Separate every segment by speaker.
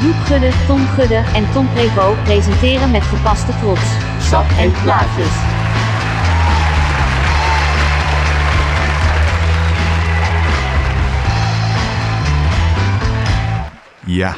Speaker 1: Gudde, Tom Gudde en Tom Prevo presenteren met gepaste trots. Sap en plaatjes.
Speaker 2: Ja,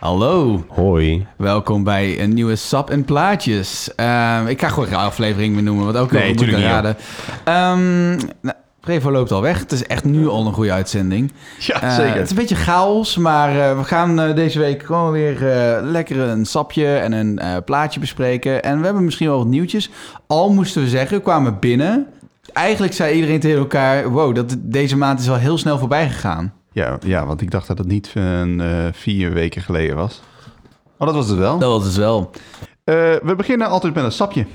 Speaker 2: hallo.
Speaker 3: Hoi.
Speaker 2: Welkom bij een nieuwe Sap en Plaatjes. Ehm, ik ga gewoon geen aflevering meer noemen, want ook
Speaker 3: Nee,
Speaker 2: nog moet
Speaker 3: tuurlijk
Speaker 2: ik
Speaker 3: niet,
Speaker 2: raden. Ehm, nou, Prevo loopt al weg. Het is echt nu al een goede uitzending.
Speaker 3: Ja,
Speaker 2: Eh,
Speaker 3: zeker.
Speaker 2: Het is een beetje chaos, maar eh, we gaan eh, deze week gewoon weer eh, lekker een sapje en een eh, plaatje bespreken. En we hebben misschien wel wat nieuwtjes. Al moesten we zeggen, we kwamen binnen. Eigenlijk zei iedereen tegen elkaar, wow, dat, deze maand is al heel snel voorbij gegaan.
Speaker 3: Ja, ja, want ik dacht dat het niet een, eh, vier weken geleden was. Maar dat was het wel.
Speaker 2: Oh, Dat was het wel.
Speaker 3: Eh, we beginnen altijd met een sapje.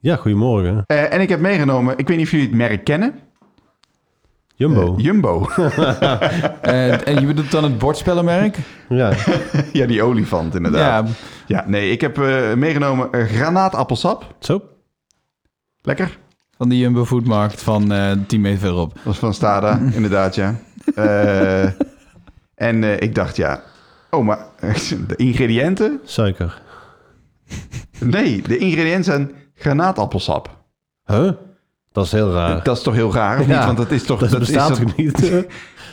Speaker 4: Ja, goedemorgen.
Speaker 3: Eh, en ik heb meegenomen, ik weet niet of jullie het merk kennen.
Speaker 4: Jumbo.
Speaker 3: Eh, Jumbo.
Speaker 2: Eh, en je bedoelt dan het bordspellenmerk?
Speaker 4: ja.
Speaker 3: ja, die olifant inderdaad. Ja, nee, ik heb eh, meegenomen eh, granaatappelsap.
Speaker 4: Zo.
Speaker 3: Lekker.
Speaker 2: van die Jumbo Foodmarkt van eh 10 meter verderop.
Speaker 3: Dat was van Stada, inderdaad, ja. Eh, en eh, ik dacht, ja... Oh, maar de ingrediënten?
Speaker 4: Suiker.
Speaker 3: Nee, de ingrediënten zijn granaatappelsap.
Speaker 4: Huh? Dat is heel raar.
Speaker 3: Dat is toch heel raar, of niet?
Speaker 4: Ja,
Speaker 3: Want dat is toch...
Speaker 4: dat,
Speaker 3: is
Speaker 4: bestaat
Speaker 3: toch-
Speaker 4: toch niet?
Speaker 3: Ja,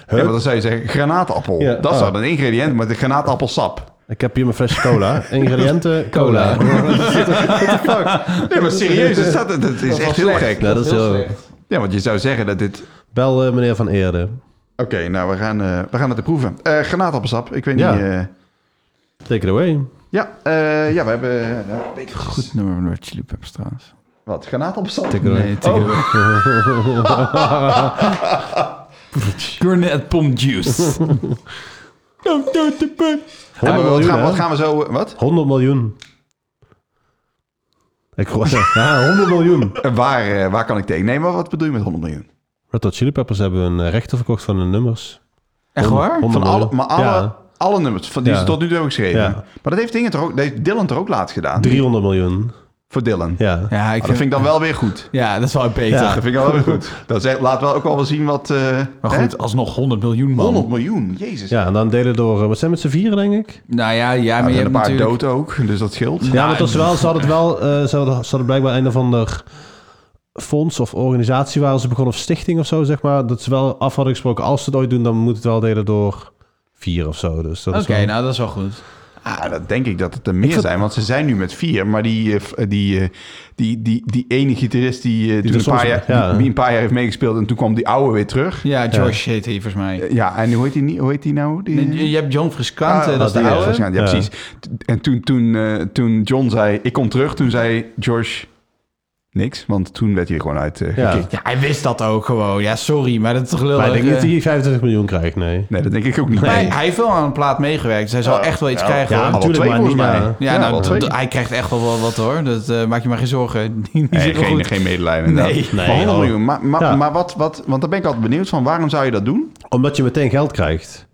Speaker 3: maar dan zou je zeggen, granaatappel.
Speaker 4: Ja,
Speaker 3: dat is
Speaker 4: ah.
Speaker 3: dan een ingrediënt, maar de granaatappelsap.
Speaker 4: ik heb hier mijn flesje cola. Ingrediënten, cola.
Speaker 3: Nee, maar serieus, dat, staat- dat is echt heel gek.
Speaker 4: Ja, dat is heel...
Speaker 3: Ja, want je zou zeggen dat dit...
Speaker 4: Bel eh, meneer Van Eerden.
Speaker 3: Oké, nou, we gaan, eh, we gaan het proeven. Eh granaatappelsap, ik weet
Speaker 4: Ja.
Speaker 3: niet... eh,
Speaker 4: Take it away.
Speaker 3: ja, eh, ja, we hebben... eh, een beetje-
Speaker 2: Goed nummer van Red Chili Peppers trouwens.
Speaker 3: Wat, granaatappelsap? Oh.
Speaker 4: Take it away.
Speaker 2: Nee, tegen Cornet Pom Juice.
Speaker 3: Ja,
Speaker 4: 100
Speaker 3: maar wat,
Speaker 4: miljoen,
Speaker 3: gaan,
Speaker 4: hè?
Speaker 3: wat gaan we zo... eh, Wat?
Speaker 4: 100 miljoen. Ik hoor... Ja, 100 miljoen.
Speaker 3: Eh, waar, eh, waar kan ik tegen? Nee, maar wat bedoel je met 100 miljoen?
Speaker 4: Red Hot Chili Peppers hebben hun eh, rechten verkocht van hun nummers.
Speaker 2: Echt waar?
Speaker 4: Hond-
Speaker 3: Van alle,
Speaker 4: miljoen.
Speaker 3: maar alle,
Speaker 4: Ja.
Speaker 3: alle nummers van die
Speaker 4: Ja.
Speaker 3: ze tot nu toe hebben geschreven.
Speaker 4: Ja.
Speaker 3: Maar dat heeft Dingen toch ook, dat heeft Dylan toch ook laatst gedaan?
Speaker 4: 300 miljoen.
Speaker 3: Voor Dylan.
Speaker 4: Ja.
Speaker 2: Ja, ik
Speaker 3: Maar Oh, dat vind ik dan wel weer goed.
Speaker 2: ja, dat is wel beter.
Speaker 4: Ja.
Speaker 3: Dat vind ik wel weer goed. Dat zegt, laat wel ook wel wel zien wat... eh,
Speaker 2: Maar
Speaker 3: hè?
Speaker 2: goed, alsnog 100 miljoen man.
Speaker 3: 100 miljoen, jezus.
Speaker 4: Ja, en dan delen door... eh, Wat zijn het met z'n vieren, denk ik?
Speaker 2: Nou ja, ja
Speaker 3: Ja,
Speaker 2: maar
Speaker 3: er
Speaker 2: je
Speaker 3: zijn
Speaker 2: hebt
Speaker 3: een paar
Speaker 2: natuurlijk...
Speaker 3: dood ook, dus dat scheelt.
Speaker 4: Ja, maar het was wel, ze hadden het wel, eh, ze, hadden, ze hadden blijkbaar een of ander fonds of organisatie waar ze begonnen, of stichting of zo, zeg maar, dat ze wel af hadden gesproken, als ze het ooit doen, dan moet het wel delen door vier of zo. Dus dat
Speaker 2: Oké,
Speaker 4: is wel-
Speaker 2: nou dat is wel goed.
Speaker 3: Ah, dat denk ik dat het er meer
Speaker 4: vind-
Speaker 3: zijn, want ze zijn nu met vier. Maar die, eh, f- die, eh, die, die, die ene gitarist die, eh, toen
Speaker 4: er
Speaker 3: een, paar
Speaker 4: soms-
Speaker 3: jaar,
Speaker 4: ja.
Speaker 3: die, die een paar jaar heeft meegespeeld... en toen kwam die oude weer terug.
Speaker 2: Ja, George heet hij volgens mij.
Speaker 3: Ja, en hoe heet die, niet- hoe heet die nou? Die,
Speaker 2: Je- Je hebt John
Speaker 3: Ah,
Speaker 2: Fruscante, dat is
Speaker 3: die
Speaker 2: de
Speaker 3: is
Speaker 2: oude.
Speaker 3: waarschijnlijk, Ja,
Speaker 4: Ja.
Speaker 3: precies. T- En toen, toen, eh, toen John zei, ik kom terug, toen zei George niks. Want toen werd hij er gewoon uit eh,
Speaker 4: Ja.
Speaker 3: gekikt.
Speaker 2: Ja, hij wist dat ook gewoon. Ja, sorry, maar dat is toch lullig.
Speaker 4: Maar ik denk niet
Speaker 2: eh.
Speaker 4: dat hij 25 miljoen krijgt, nee.
Speaker 3: Nee, dat denk ik ook niet.
Speaker 2: Maar
Speaker 3: Nee.
Speaker 2: hij heeft wel aan een plaat meegewerkt, dus hij zal echt wel iets krijgen.
Speaker 4: ja,
Speaker 2: hoor.
Speaker 3: Alle
Speaker 4: natuurlijk,
Speaker 3: twee
Speaker 4: maar
Speaker 3: volgens
Speaker 4: niet,
Speaker 3: mij.
Speaker 4: ja.
Speaker 2: Ja,
Speaker 3: alle
Speaker 2: nou,
Speaker 3: twee.
Speaker 2: d- hij krijgt echt wel wat, wat hoor. Dat eh, maak je maar geen zorgen. Die, die
Speaker 3: Nee,
Speaker 2: zit wel
Speaker 3: geen,
Speaker 2: goed.
Speaker 3: geen medelijden. inderdaad.
Speaker 2: Nee.
Speaker 3: maar
Speaker 4: Nee,
Speaker 3: 100
Speaker 4: joh.
Speaker 3: miljoen. Maar, maar,
Speaker 4: Ja.
Speaker 3: maar wat, wat, want daar ben ik altijd benieuwd van. Waarom zou je dat doen?
Speaker 4: Omdat je meteen geld krijgt.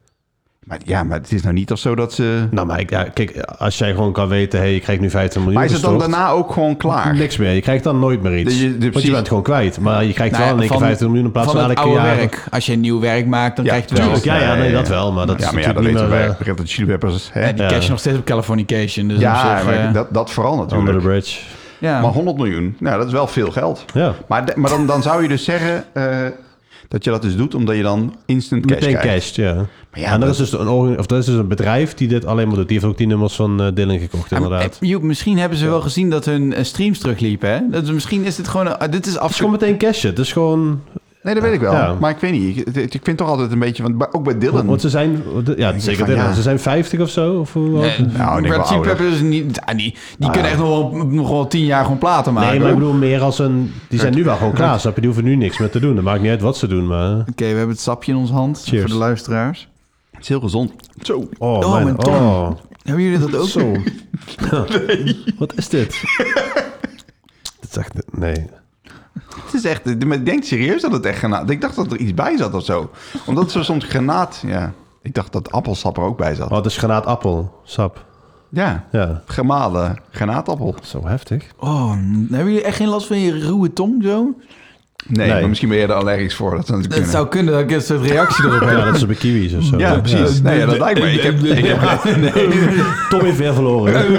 Speaker 3: Maar, ja, maar het is nou niet of zo dat ze...
Speaker 4: Nou, maar ik, ja, kijk, als jij gewoon kan weten, hé, hey, je krijgt nu 15 miljoen
Speaker 3: Maar is het dan
Speaker 4: gestort,
Speaker 3: daarna ook gewoon klaar?
Speaker 4: Niks meer, je krijgt dan nooit meer iets.
Speaker 3: Dat je- dat
Speaker 4: Want
Speaker 3: precies-
Speaker 4: je bent gewoon kwijt, maar je krijgt
Speaker 2: Nou ja,
Speaker 4: wel in één keer
Speaker 2: van-
Speaker 4: 15 miljoen in plaats van,
Speaker 2: van het
Speaker 4: elke
Speaker 2: oude
Speaker 4: jaar.
Speaker 2: werk. Als je nieuw werk maakt, dan
Speaker 3: Ja,
Speaker 2: krijg je het wel.
Speaker 4: tuurlijk, ja, ja, nee, dat wel, maar dat
Speaker 3: ja,
Speaker 4: is
Speaker 3: maar ja, dat
Speaker 4: natuurlijk
Speaker 3: weten we
Speaker 4: niet meer,
Speaker 3: bij
Speaker 4: eh,
Speaker 3: Red Hot Chili Peppers. Hè?
Speaker 2: En die
Speaker 4: Ja.
Speaker 2: cash je nog steeds op Californication. Dus
Speaker 3: Ja,
Speaker 2: op zich,
Speaker 3: maar
Speaker 2: eh,
Speaker 3: dat, dat vooral
Speaker 4: Under the
Speaker 3: natuurlijk.
Speaker 4: bridge.
Speaker 2: ja.
Speaker 3: Maar 100 miljoen, nou, dat is wel veel geld.
Speaker 4: Ja.
Speaker 3: Maar, de- maar dan, dan zou je dus zeggen eh, dat je dat dus doet omdat je dan instant cash
Speaker 4: Meteen
Speaker 3: krijgt.
Speaker 4: cash, ja.
Speaker 3: ja,
Speaker 4: en
Speaker 3: dat-
Speaker 4: dat is, dus een, orga- of dat is dus een bedrijf die dit alleen maar doet. Die heeft ook die nummers van eh Dylan gekocht, inderdaad.
Speaker 2: Eh, Joep, misschien hebben ze wel gezien dat hun eh, streams terugliepen. Hè? Dat, misschien is dit gewoon... een- ah, dit is
Speaker 4: Het is gewoon
Speaker 2: afgekomen.
Speaker 4: meteen cash. Het is gewoon...
Speaker 3: Nee, dat weet ik wel.
Speaker 4: Ja.
Speaker 3: Maar ik weet niet. Ik, ik vind toch altijd een beetje... Want, bij- ook bij Dylan.
Speaker 4: Want ze zijn... Ja, zeker
Speaker 3: van,
Speaker 4: Dylan.
Speaker 3: ja.
Speaker 4: Ze zijn 50 of zo. Of hoe, nee,
Speaker 3: Nou, ik denk wel
Speaker 2: Eh, Red Chili
Speaker 3: ouder.
Speaker 2: Peppers is niet... ah, die die kunnen echt nog wel, nog wel tien jaar gewoon platen maken.
Speaker 4: maar ik
Speaker 2: hoor.
Speaker 4: bedoel meer als een... Die zijn nu wel gewoon klaar, snap je? Die hoeven nu niks meer te doen. Dat maakt niet uit wat ze doen, maar...
Speaker 2: Oké, we hebben het sapje in onze hand
Speaker 4: Cheers.
Speaker 2: voor de luisteraars.
Speaker 3: Het is heel gezond. Zo.
Speaker 4: Oh,
Speaker 2: Oh,
Speaker 4: mijn...
Speaker 2: mijn tong.
Speaker 4: oh,
Speaker 2: Hebben jullie dat ook?
Speaker 4: zo. Wat is dit? dit is echt... Nee.
Speaker 3: Het is echt... Maar ik denk serieus dat het echt granaat... Ik dacht dat er iets bij zat of zo. Omdat ze soms granaat... Ja. Ik dacht dat appelsap er ook bij zat.
Speaker 4: Oh, het is granaatappel. Sap.
Speaker 3: Ja.
Speaker 4: Ja.
Speaker 3: Gemalen granaatappel.
Speaker 4: Zo heftig.
Speaker 3: Oh.
Speaker 2: Oh, hebben jullie echt geen last van je ruwe tong zo?
Speaker 3: Nee,
Speaker 4: Nee.
Speaker 3: maar misschien ben je er allergisch voor. Dat zou natuurlijk kunnen.
Speaker 2: Het zou kunnen dat ik een soort reactie erop heb.
Speaker 4: Ja, dat is bij kiwis of zo.
Speaker 3: Ja, precies. Nee, ja, dat lijkt me. Ik heb, ik heb
Speaker 4: Tom heeft weer verloren.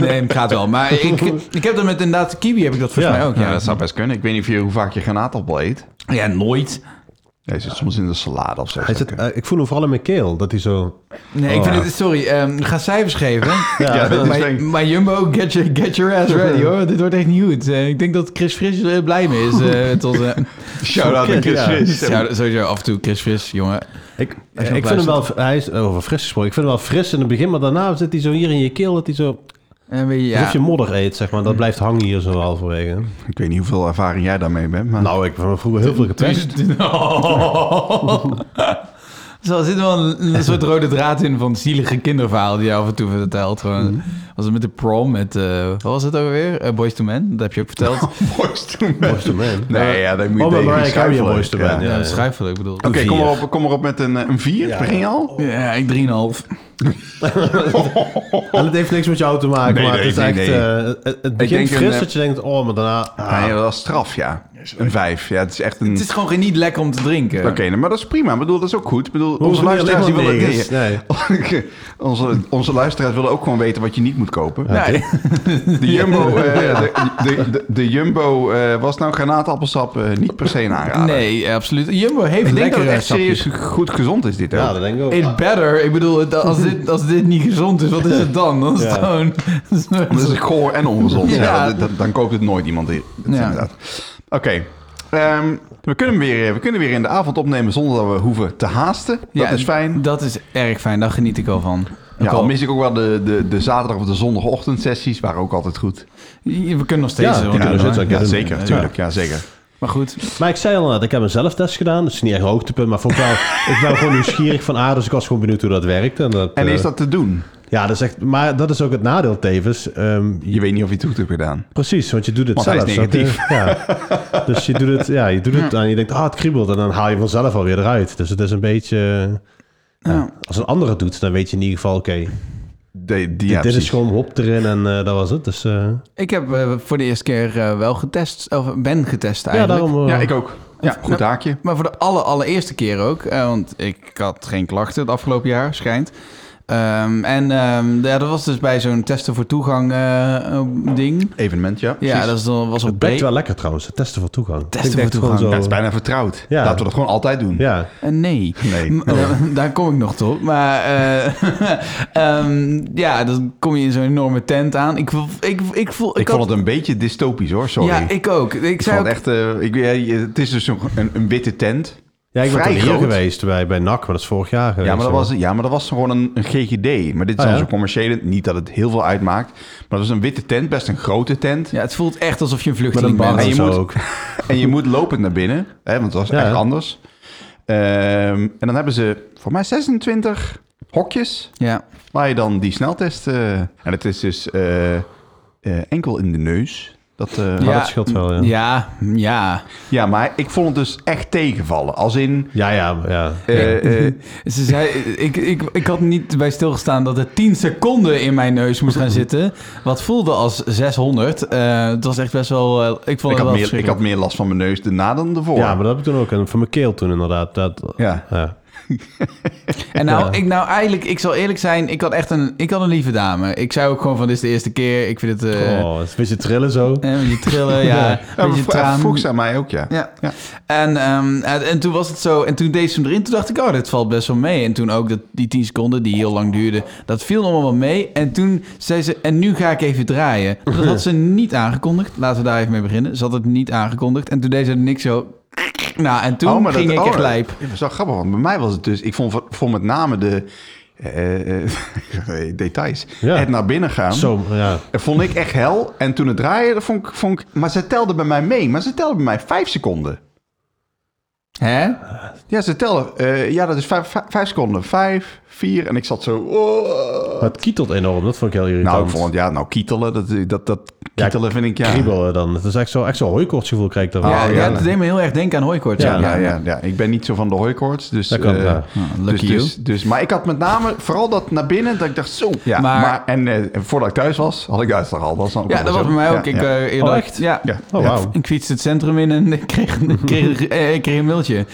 Speaker 2: Nee, het gaat wel. Maar ik, ik heb dat met inderdaad kiwi, heb ik dat volgens
Speaker 4: Ja.
Speaker 2: mij ook.
Speaker 3: Ja,
Speaker 2: Ja,
Speaker 3: dat zou best kunnen. Ik weet niet of je, hoe vaak je granaatappel eet.
Speaker 2: ja nooit.
Speaker 3: Nee, zit soms in de salade of zo.
Speaker 4: Hij zit, eh, ik voel hem vooral in mijn keel, dat hij zo...
Speaker 2: Nee, ik
Speaker 4: Oh,
Speaker 2: vind
Speaker 4: ja.
Speaker 2: het, sorry, ehm, ga cijfers geven.
Speaker 3: ja,
Speaker 4: eh,
Speaker 3: dat is
Speaker 2: Maar,
Speaker 3: denk ik-
Speaker 2: maar Jumbo, get your, get your ass ready hoor. Dit wordt echt niet goed. Eh, ik denk dat Chris Fris er blij mee is. eh, tot, eh,
Speaker 3: Shout-out aan Chris
Speaker 4: Ja. dus-
Speaker 3: Fris.
Speaker 2: ja, sowieso af en toe Chris Fris, jongen.
Speaker 4: Ik,
Speaker 2: je nog
Speaker 4: ik vind hem wel... Hij is eh, over fris gesproken. Ik vind hem wel fris in het begin, maar daarna zit hij zo hier in je keel, dat hij zo...
Speaker 2: En weet je,
Speaker 4: Alsof
Speaker 2: Eh, ja.
Speaker 4: je modder eet, zeg maar.
Speaker 3: Hm.
Speaker 4: Dat blijft hangen hier zo halverwege.
Speaker 3: Ik weet niet hoeveel ervaring jij daarmee hebt, maar...
Speaker 4: Nou, ik heb vroeger heel veel gepest.
Speaker 2: Zo, er zit wel een, een soort rode draad in van zielige kinderverhaal die je af en toe vertelt. Gewoon, Was het met de prom, met, eh, wat was het ook alweer? Eh, Boys to Men, dat heb je ook verteld.
Speaker 3: Boys to Men.
Speaker 4: Boyz II Men.
Speaker 3: Nee, ja, daar moet je
Speaker 4: Oh, maar
Speaker 3: tegen
Speaker 4: Mariah Carey
Speaker 3: schuifelen.
Speaker 4: Boyz II Men,
Speaker 2: ja,
Speaker 4: ja.
Speaker 2: dat is schrijfelijk, ik bedoel.
Speaker 3: Oké, kom,
Speaker 4: Vier.
Speaker 3: maar op- kom maar op met een, eh, een vier.
Speaker 4: Ja.
Speaker 3: Begin je al?
Speaker 2: Ja, ik 3,5.
Speaker 4: En het heeft niks met jou te maken,
Speaker 3: Nee,
Speaker 4: maar het
Speaker 3: nee,
Speaker 4: is
Speaker 3: nee,
Speaker 4: echt...
Speaker 3: nee.
Speaker 4: eh, het- het begint
Speaker 3: denk een,
Speaker 4: fris
Speaker 3: eh,
Speaker 4: dat je denkt, oh, maar daarna...
Speaker 3: Ah, ja, dat is straf, ja. Een vijf. Ja, het is echt een...
Speaker 2: Het is gewoon geen- niet lekker om te drinken.
Speaker 3: Oké, nou, maar dat is prima. Ik bedoel, dat is ook goed. Ik bedoel,
Speaker 4: hoeven
Speaker 3: onze
Speaker 4: niet alleen
Speaker 3: luisteraars, die
Speaker 4: maar
Speaker 3: willen,
Speaker 4: negers.
Speaker 3: Nee. onze, onze luisteraars willen ook gewoon weten wat je niet moet kopen.
Speaker 2: Ja,
Speaker 3: De Jumbo, eh, de, de, de, de Jumbo eh, was nou granaatappelsap eh, niet per se een aanrader.
Speaker 2: nee, absoluut. Jumbo heeft
Speaker 3: Ik denk dat
Speaker 2: lekkere
Speaker 3: het echt
Speaker 2: eh, sapjes.
Speaker 3: serieus goed gezond is, dit. Hè?
Speaker 4: Ja, dat denk ik ook. Ah,
Speaker 2: It better. Ik bedoel, het- als dit, als dit niet gezond is, wat is het dan? Dan is het
Speaker 4: Ja.
Speaker 2: gewoon...
Speaker 3: Dat is goor en ongezond. ja.
Speaker 2: Ja.
Speaker 3: dat- dat- dan koopt het nooit iemand in. Dat is
Speaker 2: Ja.
Speaker 3: inderdaad. Oké. ehm, we, kunnen weer, we kunnen weer in de avond opnemen zonder dat we hoeven te haasten. Dat
Speaker 2: Ja,
Speaker 3: is fijn.
Speaker 2: Dat is erg fijn. Daar geniet ik al van.
Speaker 3: Ja,
Speaker 2: Ook al-
Speaker 3: al mis ik ook wel de, de, de zaterdag of de zondagochtend sessies. Waren ook altijd goed.
Speaker 2: we kunnen nog steeds...
Speaker 4: Ja,
Speaker 2: doen,
Speaker 4: die Oh, kunnen
Speaker 2: hoor.
Speaker 4: we zeker
Speaker 3: ja,
Speaker 4: doen.
Speaker 3: zeker.
Speaker 4: Ja.
Speaker 3: Tuurlijk, ja, zeker.
Speaker 2: Maar goed.
Speaker 4: Maar ik zei al net, ik heb een zelftest gedaan. Dat is niet echt een hoogtepunt, maar vond ik wel... ik ben gewoon nieuwsgierig van aard, dus ik was gewoon benieuwd hoe dat werkt. En, dat,
Speaker 3: En
Speaker 4: eh,
Speaker 3: is dat te doen?
Speaker 4: Ja, dat is echt... Maar dat is ook het nadeel tevens. Ehm,
Speaker 3: Je weet niet of je het goed hebt gedaan.
Speaker 4: Precies, want je doet het
Speaker 3: Want hij
Speaker 4: zelf.
Speaker 3: is
Speaker 4: snap je? Ja. Dus je doet het, ja, je doet het en je denkt, ah, het kriebelt. En dan haal je vanzelf alweer eruit. Dus het is een beetje... eh, ja, Als een andere het doet, dan weet je in ieder geval, oké,
Speaker 3: De, die, ja,
Speaker 4: dit is
Speaker 3: precies.
Speaker 4: gewoon hop erin en eh, dat was het. Dus eh,
Speaker 2: Ik heb eh, voor de eerste keer eh, wel getest. Of ben getest
Speaker 4: ja,
Speaker 2: eigenlijk.
Speaker 4: daarom... eh,
Speaker 3: Ja, ik ook. Ja, goed haakje.
Speaker 2: Maar voor de aller, allereerste keer ook. eh, want ik had geen klachten het afgelopen jaar, schijnt. Ehm, en ehm, ja, dat was dus bij zo'n testen voor toegang eh, eh, ding.
Speaker 3: Evenement, ja. precies.
Speaker 2: Ja, dat is dan- was
Speaker 4: Het
Speaker 2: op
Speaker 4: bekt
Speaker 2: breed.
Speaker 4: wel lekker trouwens, het testen voor toegang.
Speaker 2: Testen
Speaker 4: Ik denk
Speaker 2: voor
Speaker 4: gewoon
Speaker 2: toegang,
Speaker 3: Ja,
Speaker 4: zo-
Speaker 3: het is bijna vertrouwd.
Speaker 4: Ja.
Speaker 3: Laten we dat gewoon altijd doen.
Speaker 4: Ja,
Speaker 2: Eh, nee.
Speaker 3: Nee. Oh.
Speaker 2: M- eh, daar kom ik nog tot. Maar eh, ehm, ja, dan kom je in zo'n enorme tent aan. Ik, voel- ik, ik voel...
Speaker 3: Ik
Speaker 2: had-
Speaker 3: vond het een beetje dystopisch hoor, sorry.
Speaker 2: Ja, ik ook. Ik,
Speaker 3: Ik
Speaker 2: zei
Speaker 3: vond
Speaker 2: ook,
Speaker 3: het echt, eh, ik, ja, je- het is dus een, een, een witte tent.
Speaker 4: ja ik ben
Speaker 3: Vrij
Speaker 4: toen hier
Speaker 3: groot.
Speaker 4: geweest bij, bij NAC, maar dat is vorig jaar geweest.
Speaker 3: Ja maar, dat was, ja, maar dat was gewoon een, een GGD. Maar dit is
Speaker 4: Ah,
Speaker 3: dan
Speaker 4: ja.
Speaker 3: zo'n commerciële, niet dat het heel veel uitmaakt. Maar het was een witte tent, best een grote tent.
Speaker 2: ja, het voelt echt alsof je een
Speaker 4: Met een
Speaker 2: vluchteling
Speaker 4: bar
Speaker 2: bent.
Speaker 3: en
Speaker 4: en
Speaker 3: je
Speaker 4: zo
Speaker 3: moet-
Speaker 4: ook.
Speaker 3: En je moet lopend naar binnen, hè, want het was
Speaker 4: Ja.
Speaker 3: echt anders. Ehm, en dan hebben ze voor mij 26 hokjes
Speaker 2: Ja.
Speaker 3: waar je dan die sneltest... eh, en het is dus eh, eh, enkel in de neus. Dat, eh,
Speaker 4: Maar dat scheelt wel, ja.
Speaker 2: Ja, ja.
Speaker 3: Ja, maar ik vond het dus echt tegenvallen. Als in...
Speaker 4: Ja, ja, ja.
Speaker 3: eh, eh,
Speaker 2: Ze zei, ik, ik, ik had niet bij stilgestaan dat er 10 seconden in mijn neus moest gaan zitten. Wat voelde als 600. Eh, het was echt best wel... eh, ik vond
Speaker 3: ik,
Speaker 2: het
Speaker 3: had
Speaker 2: wel
Speaker 3: meer, ik had
Speaker 2: verschrikkelijk.
Speaker 3: meer last van mijn neus daarna dan ervoor.
Speaker 4: ja, maar dat heb ik toen ook. En voor mijn keel toen inderdaad. Dat,
Speaker 3: oh. Ja.
Speaker 4: ja.
Speaker 2: En nou,
Speaker 4: Ja.
Speaker 2: ik, nou eigenlijk, ik zal eerlijk zijn, ik had echt een, ik had een lieve dame. Ik zei ook gewoon van, dit is de eerste keer. Ik vind het... eh
Speaker 4: Oh, het is een beetje trillen zo.
Speaker 2: eh, een beetje trillen, ja.
Speaker 4: Ja,
Speaker 3: Ja,
Speaker 2: Een beetje
Speaker 3: maar
Speaker 2: traan.
Speaker 3: vroeg ze aan mij ook, ja.
Speaker 2: Ja.
Speaker 3: Ja.
Speaker 2: En, ehm, en, en toen was het zo, en toen deed ze hem erin, toen dacht ik, oh, dit valt best wel mee. En toen ook dat, die 10 seconden die heel lang duurde, dat viel allemaal wel mee. En toen zei ze, en nu ga ik even draaien. Dat had ze niet aangekondigd. Laten we daar even mee beginnen. Ze had het niet aangekondigd. En toen deed ze niks zo. Nou, en toen
Speaker 3: Oh, maar
Speaker 2: ging
Speaker 3: dat-
Speaker 2: ik
Speaker 3: oh,
Speaker 2: echt lijp.
Speaker 3: Dat is wel grappig, want bij mij was het dus... Ik vond voor, voor met name de eh, eh, details.
Speaker 4: Ja.
Speaker 3: Het naar binnen gaan.
Speaker 4: Zo, ja.
Speaker 3: Dat vond ik echt hel. En toen het draaien, dat vond ik, vond ik... Maar ze telde bij mij mee. Maar ze telde bij mij vijf seconden.
Speaker 2: Hè?
Speaker 3: Ja, ze tellen. Eh, ja, dat is vijf, vijf- vijf seconden. Vijf, vier. En ik zat zo... oh.
Speaker 4: Het kietelt enorm, dat vond ik heel irritant.
Speaker 3: Nou, ik vond het, ja, nou kietelen. Dat, dat, dat
Speaker 4: Ja,
Speaker 3: kietelen vind ik, ja.
Speaker 4: kriebelen dan. Het is echt zo'n echt zo hooikortsgevoel krijg ik dan.
Speaker 2: ja,
Speaker 3: ja,
Speaker 2: ja,
Speaker 3: nee.
Speaker 2: dat deed me heel erg denken aan hooikort.
Speaker 4: Ja,
Speaker 2: Ja,
Speaker 3: Ja, ja, ja, ik ben niet zo van de hooikoorts. Dus,
Speaker 4: Dat kan,
Speaker 3: eh,
Speaker 4: ja.
Speaker 3: dus,
Speaker 2: lucky
Speaker 3: dus, dus, maar ik had met name vooral dat naar binnen, dat ik dacht zo. Ja, maar,
Speaker 2: Maar-
Speaker 3: en eh, voordat ik thuis was, had ik uitslag al. Dat, is dan ook
Speaker 2: Ja,
Speaker 3: wel
Speaker 2: dat
Speaker 3: zo.
Speaker 2: was bij mij
Speaker 3: Ja,
Speaker 2: ook. ik,
Speaker 3: ja.
Speaker 2: eh, eerder,
Speaker 4: Oh, echt?
Speaker 2: Ja.
Speaker 3: Ja.
Speaker 4: Oh,
Speaker 3: Ja.
Speaker 4: wauw.
Speaker 2: Ik fietste het centrum in en ik kreeg, ik kreeg, eh, ik kreeg een mailtje.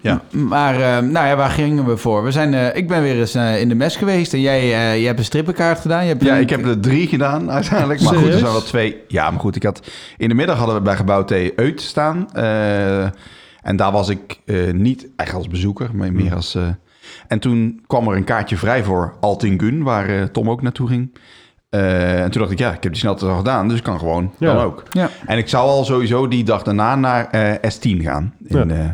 Speaker 3: Ja.
Speaker 2: Maar eh, nou ja, waar gingen we voor? We zijn, eh, ik ben weer eens eh, in de mes geweest en jij, eh, jij hebt een strippenkaart gedaan. Je hebt
Speaker 3: Ja,
Speaker 2: een-
Speaker 3: ik heb er drie gedaan uiteindelijk. Maar goed, er
Speaker 4: Serieus?
Speaker 3: zijn wel twee. Ja, maar goed, ik had... In de middag hadden we bij Gebouw T Uit staan. eh, en daar was ik eh, niet echt als bezoeker, maar meer als... eh, en toen kwam er een kaartje vrij voor Altingun, waar eh, Tom ook naartoe ging. Eh, en toen dacht ik, ja, ik heb die snelheid al gedaan, dus ik kan gewoon.
Speaker 4: Ja.
Speaker 3: Dan ook.
Speaker 2: Ja.
Speaker 3: En ik zou al sowieso die dag daarna naar eh, S10 gaan. In,
Speaker 4: Ja.
Speaker 3: eh,